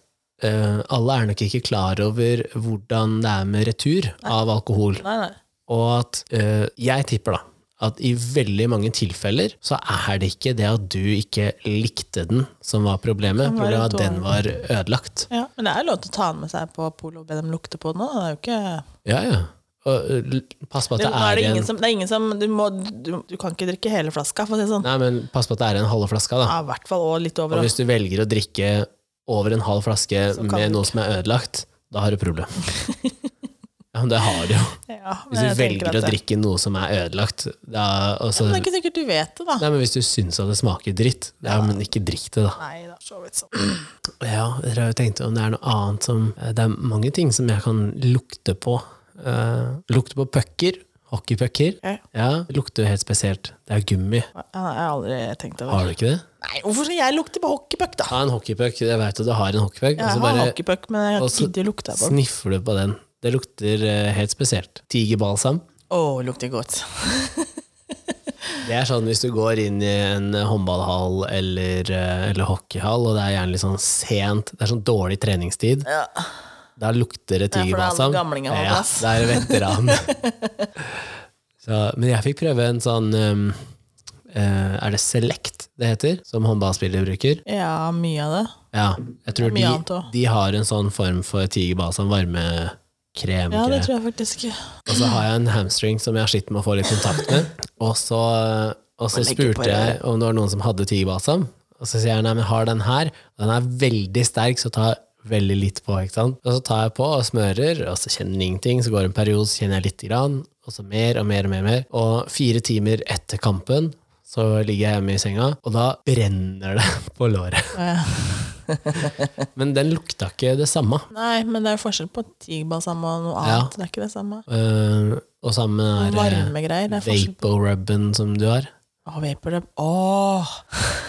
Speaker 1: eh, alle er nok ikke klar over hvordan det er med retur av alkohol.
Speaker 2: Nei, nei.
Speaker 1: Og at eh, jeg tipper da at i veldig mange tilfeller så er det ikke det at du ikke likte den som var problemet,
Speaker 2: Den var
Speaker 1: problemet var at
Speaker 2: dårlig.
Speaker 1: den var ødelagt.
Speaker 2: Ja. Men det er jo lov til å ta den med seg på polet og be dem lukte på den òg. Det er jo ikke
Speaker 1: Ja, ja. Og ø, l- pass på at
Speaker 2: det,
Speaker 1: det,
Speaker 2: nå er det,
Speaker 1: er
Speaker 2: ingen
Speaker 1: en
Speaker 2: som, det er ingen som Du, må, du, du kan ikke drikke hele flaska, for å si det sånn.
Speaker 1: Nei, men pass på at det er en halvflaske, da.
Speaker 2: Ja, I hvert fall og litt over.
Speaker 1: Og
Speaker 2: også.
Speaker 1: hvis du velger å drikke over en halv flaske
Speaker 2: Så kan
Speaker 1: med
Speaker 2: du
Speaker 1: noe som er ødelagt, da har du problem. ja, men det har du jo.
Speaker 2: Ja, men
Speaker 1: Hvis
Speaker 2: jeg
Speaker 1: du
Speaker 2: tenker
Speaker 1: velger å
Speaker 2: at det-
Speaker 1: drikke noe som er ødelagt, da og
Speaker 2: Men
Speaker 1: så,
Speaker 2: det er ikke sikkert du vet det, da.
Speaker 1: Nei, men hvis du syns at det smaker dritt, ja, men ikke drikk det, da.
Speaker 2: Nei, det er så vidt sånn.
Speaker 1: Ja, dere har jo tenkt om det er noe annet som eh, Det er mange ting som jeg kan lukte på. Eh, lukte på pucker. Hockeypucker.
Speaker 2: Ja.
Speaker 1: Ja, lukter jo helt spesielt. Det er gummi.
Speaker 2: Jeg har aldri tenkt over
Speaker 1: Har du ikke det?
Speaker 2: Nei, hvorfor skal jeg lukte på hockeypuck, da?
Speaker 1: Ta en hockeypuck. Jeg vet at du har en hockeypuck.
Speaker 2: Jeg
Speaker 1: og så
Speaker 2: har
Speaker 1: bare
Speaker 2: hockeypuck, men jeg
Speaker 1: og så
Speaker 2: gidder å lukte på den.
Speaker 1: sniffer du på den. Det lukter eh, helt spesielt. Tigerbalsam.
Speaker 2: Å, lukter godt.
Speaker 1: Det er sånn hvis du går inn i en håndballhall eller, eh, eller hockeyhall, og det er gjerne litt sånn sent, det er sånn dårlig treningstid,
Speaker 2: Ja.
Speaker 1: da lukter det
Speaker 2: Ja, for det er alle
Speaker 1: tigerbalsam.
Speaker 2: gamlingene holder, ass.
Speaker 1: det er veteran. Så, men jeg fikk prøve en sånn um, eh, Er det Select det heter? Som håndballspillere bruker.
Speaker 2: ja, mye av det.
Speaker 1: Ja, jeg tror
Speaker 2: Mye
Speaker 1: de,
Speaker 2: annet også.
Speaker 1: de har en sånn form for tigerbalsam varmekrem.
Speaker 2: Ja,
Speaker 1: ikke
Speaker 2: det
Speaker 1: det?
Speaker 2: tror jeg faktisk.
Speaker 1: Og så har jeg en hamstring som jeg har slitt med å få litt kontakt med. Og så, og så
Speaker 2: Man legger på
Speaker 1: spurte jeg om det var noen som hadde tigerbalsam. Og så sier jeg nei, men jeg har den her. Og den er veldig sterk, så ta veldig litt på. ikke sant? Og så tar jeg på og smører, og så kjenner jeg ingenting. Så går det en periode, så kjenner jeg lite grann. Og så mer og mer og mer. og mer. Og fire timer etter kampen så ligger jeg hjemme i senga, og da brenner det på låret.
Speaker 2: Ja.
Speaker 1: Men den lukta ikke det samme.
Speaker 2: Nei, men det er forskjell på tigerbalsam og noe
Speaker 1: Ja.
Speaker 2: annet. Det er ikke det samme.
Speaker 1: Eh, og sammen med den
Speaker 2: Varmegreier. Det er forskjell på
Speaker 1: vapo-rubben som du har.
Speaker 2: Å, vaporub. Åh!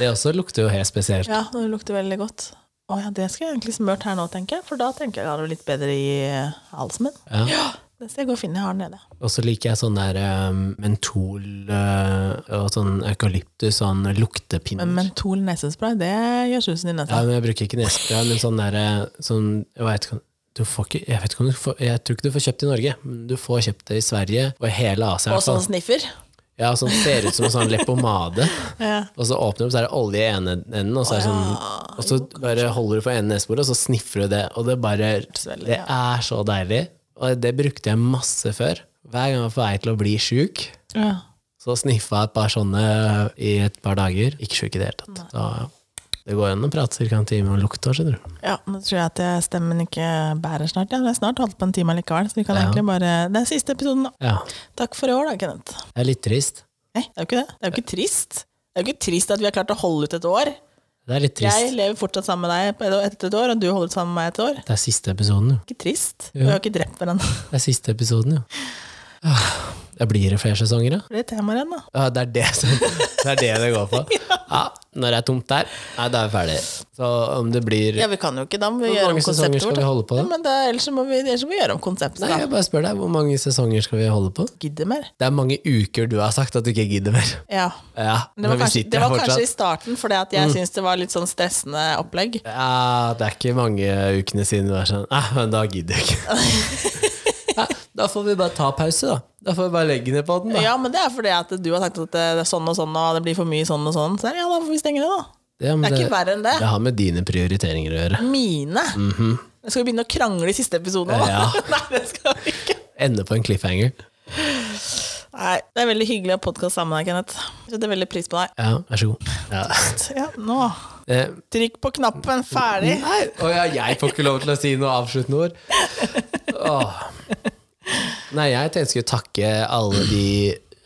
Speaker 1: Det også lukter jo helt spesielt.
Speaker 2: Ja, det lukter veldig godt. Å ja, det skal jeg egentlig smørt her nå, tenker jeg. For da tenker jeg at jeg har det litt bedre i eh, halsen min.
Speaker 1: Ja.
Speaker 2: Det skal jeg gå og finne. Jeg har den nede.
Speaker 1: Og så liker jeg sånn der eh, mentol eh, og sånn eukalyptus, sånn luktepinner.
Speaker 2: Men mentol nesespray, det gjør susen i
Speaker 1: ja,
Speaker 2: nesa.
Speaker 1: men jeg bruker ikke nesespray, men sånn der eh, sånn, jeg vet ikke om- du får ikke, jeg, vet ikke om du får, jeg tror ikke du får kjøpt det i Norge, men du får kjøpt det i Sverige og i hele Asia. i
Speaker 2: og
Speaker 1: hvert fall.
Speaker 2: sånn sniffer.
Speaker 1: Ja, og sånn ser ut som en sånn leppepomade.
Speaker 2: Ja.
Speaker 1: Og så åpner du, så er det olje i ene enden, og så, er det sånn, og så bare holder du på ene neseboret, og så sniffer du det. Og det bare
Speaker 2: Svelger,
Speaker 1: Det er så deilig. Og det brukte jeg masse før. Hver gang jeg var på vei til å bli sjuk,
Speaker 2: Ja.
Speaker 1: så sniffa jeg et par sånne eh, i et par dager. Ikke sjuk i det hele tatt. Så, ja. det går an å prate ca. en time om lukt òg, skjønner du.
Speaker 2: ja, nå tror jeg at jeg- stemmen ikke bærer snart. Ja, det er snart holdt på en time likevel, så vi kan
Speaker 1: Ja.
Speaker 2: egentlig bare Det er siste episoden, da.
Speaker 1: Ja.
Speaker 2: Takk for i år, da, Kenneth.
Speaker 1: Det er litt trist.
Speaker 2: Nei, det er jo ikke det. Det er jo ikke trist. Det er jo ikke trist at vi har klart å holde ut et år.
Speaker 1: Det er litt
Speaker 2: Jeg
Speaker 1: trist.
Speaker 2: lever fortsatt sammen med deg på- etter et år, og du holder ut sammen med meg et år.
Speaker 1: Det er siste episoden, jo.
Speaker 2: Ikke trist.
Speaker 1: Jo.
Speaker 2: Vi har jo ikke drept hverandre.
Speaker 1: Det er siste episoden, jo. Ah, Da blir det flere sesonger, da.
Speaker 2: Det blir temaer igjen, da.
Speaker 1: Ja, det er det, som, det er det det går på. Ja, når det er tomt der, nei, da er vi ferdig. Så om det blir
Speaker 2: Ja, vi kan jo ikke da, må vi
Speaker 1: Hvor
Speaker 2: gjøre om
Speaker 1: mange sesonger
Speaker 2: konseptet
Speaker 1: skal
Speaker 2: vårt.
Speaker 1: vi
Speaker 2: da.
Speaker 1: holde på, da?
Speaker 2: Ja, men da, ellers, så må vi, ellers må vi gjøre om konseptet,
Speaker 1: Nei,
Speaker 2: da.
Speaker 1: jeg bare spør deg, hvor mange sesonger skal vi holde på?
Speaker 2: Gidder mer.
Speaker 1: Det er mange uker du har sagt at du ikke gidder mer.
Speaker 2: Ja.
Speaker 1: Ja,
Speaker 2: Det var,
Speaker 1: men vi
Speaker 2: kanskje, det
Speaker 1: sitter her
Speaker 2: var kanskje i
Speaker 1: fortsatt. Mm.
Speaker 2: starten, fordi at jeg syntes det var litt sånn stressende opplegg.
Speaker 1: Ja, det er ikke mange ukene siden du er sånn Nei, men da gidder jeg ikke. Nei, da får vi bare ta pause, da. Da får vi bare legge ned på den, da.
Speaker 2: Ja, men det er fordi at du har sagt at det er sånn og sånn, og det blir for mye sånn og sånn. Så ja, da får vi stenge det, da.
Speaker 1: Ja, men
Speaker 2: Det er ikke verre enn det.
Speaker 1: Det har med dine prioriteringer å gjøre.
Speaker 2: Mine. Skal vi begynne å krangle i siste episode nå? da?
Speaker 1: Ja.
Speaker 2: Nei, det skal vi ikke.
Speaker 1: Ende på en cliffhanger.
Speaker 2: Nei, det er veldig hyggelig å podkaste sammen med deg, Kenneth. Jeg setter veldig pris på deg.
Speaker 1: Ja, vær så god. Ja.
Speaker 2: Ja, nå.
Speaker 1: Eh,
Speaker 2: Trykk på knappen, ferdig.
Speaker 1: Nei, Mm. å ja, jeg får ikke lov til å si noe avsluttende ord. Åh. Nei, jeg tenkte jeg skulle takke alle de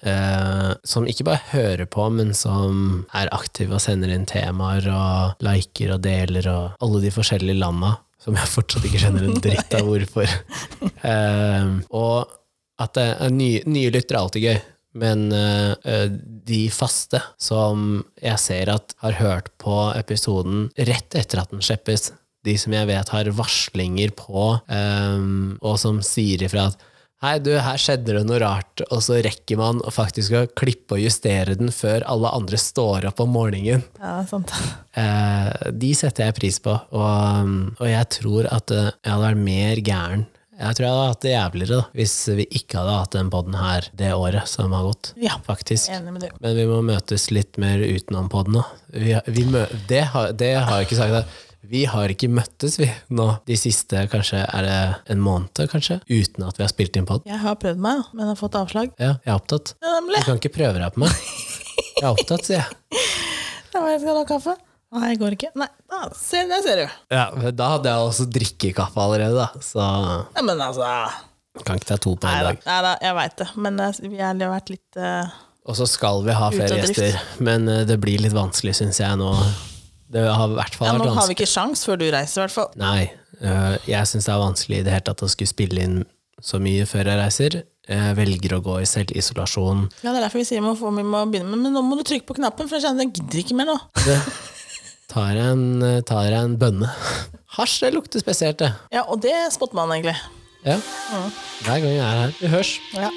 Speaker 1: eh, som ikke bare hører på, men som er aktive og sender inn temaer og liker og deler og alle de forskjellige landa som jeg fortsatt ikke skjønner en dritt av hvorfor. Eh, og at det er nye, nye lyttere er alltid gøy. Men eh, eh, de faste som jeg ser at har hørt på episoden rett etter at den slippes, de som jeg vet har varslinger på, eh, og som sier ifra at Hei, du, her skjedde det noe rart, og så rekker man å faktisk å klippe og justere den før alle andre står opp om morgenen.
Speaker 2: Ja, sant.
Speaker 1: Eh, de setter jeg pris på, og, um, og jeg tror at eh, jeg hadde vært mer gæren. Jeg tror jeg hadde hatt det jævligere da, hvis vi ikke hadde hatt den podden her det året som har gått.
Speaker 2: Ja.
Speaker 1: Faktisk.
Speaker 2: Enig med deg.
Speaker 1: Men vi må møtes litt mer utenom podden nå. Vi, vi mø det, har, det har jeg ikke sagt. da. Vi har ikke møttes vi nå de siste kanskje er det en måned kanskje, uten at vi har spilt inn podd.
Speaker 2: Jeg har prøvd meg, men har fått avslag.
Speaker 1: Ja, jeg er opptatt.
Speaker 2: Ja, nemlig.
Speaker 1: Du kan ikke prøve deg på meg. Jeg er opptatt, sier jeg.
Speaker 2: Ja, jeg skal ha kaffe. Nei, går ikke. Nei, da, se, der ser du.
Speaker 1: Ja, men da hadde jeg også drikkekaffe allerede, da. Så
Speaker 2: Nei, men altså
Speaker 1: Kan ikke ta to på
Speaker 2: Nei
Speaker 1: en
Speaker 2: da,
Speaker 1: dag.
Speaker 2: nei da jeg veit det. Men eh, vi har vært litt eh,
Speaker 1: Og så skal vi ha flere
Speaker 2: Ute av drift.
Speaker 1: gjester, men eh, det blir litt vanskelig, syns jeg nå. Det har i hvert fall
Speaker 2: ja,
Speaker 1: vært
Speaker 2: Nå har vi
Speaker 1: vanskelig.
Speaker 2: ikke sjans før du reiser, i hvert fall.
Speaker 1: Nei, eh, jeg syns det er vanskelig i det hele tatt å skulle spille inn så mye før jeg reiser. Jeg velger å gå i selvisolasjon.
Speaker 2: Ja, Det er derfor vi sier vi må, få- vi må begynne med Men nå må du trykke på knappen, for jeg kjenner at jeg gidder ikke mer nå.
Speaker 1: Det tar jeg en, tar jeg en bønne. Hasj, det lukter spesielt, det.
Speaker 2: Ja, Og det spotter man egentlig.
Speaker 1: Ja. Hver gang jeg er her. Vi hørs.
Speaker 2: Ja.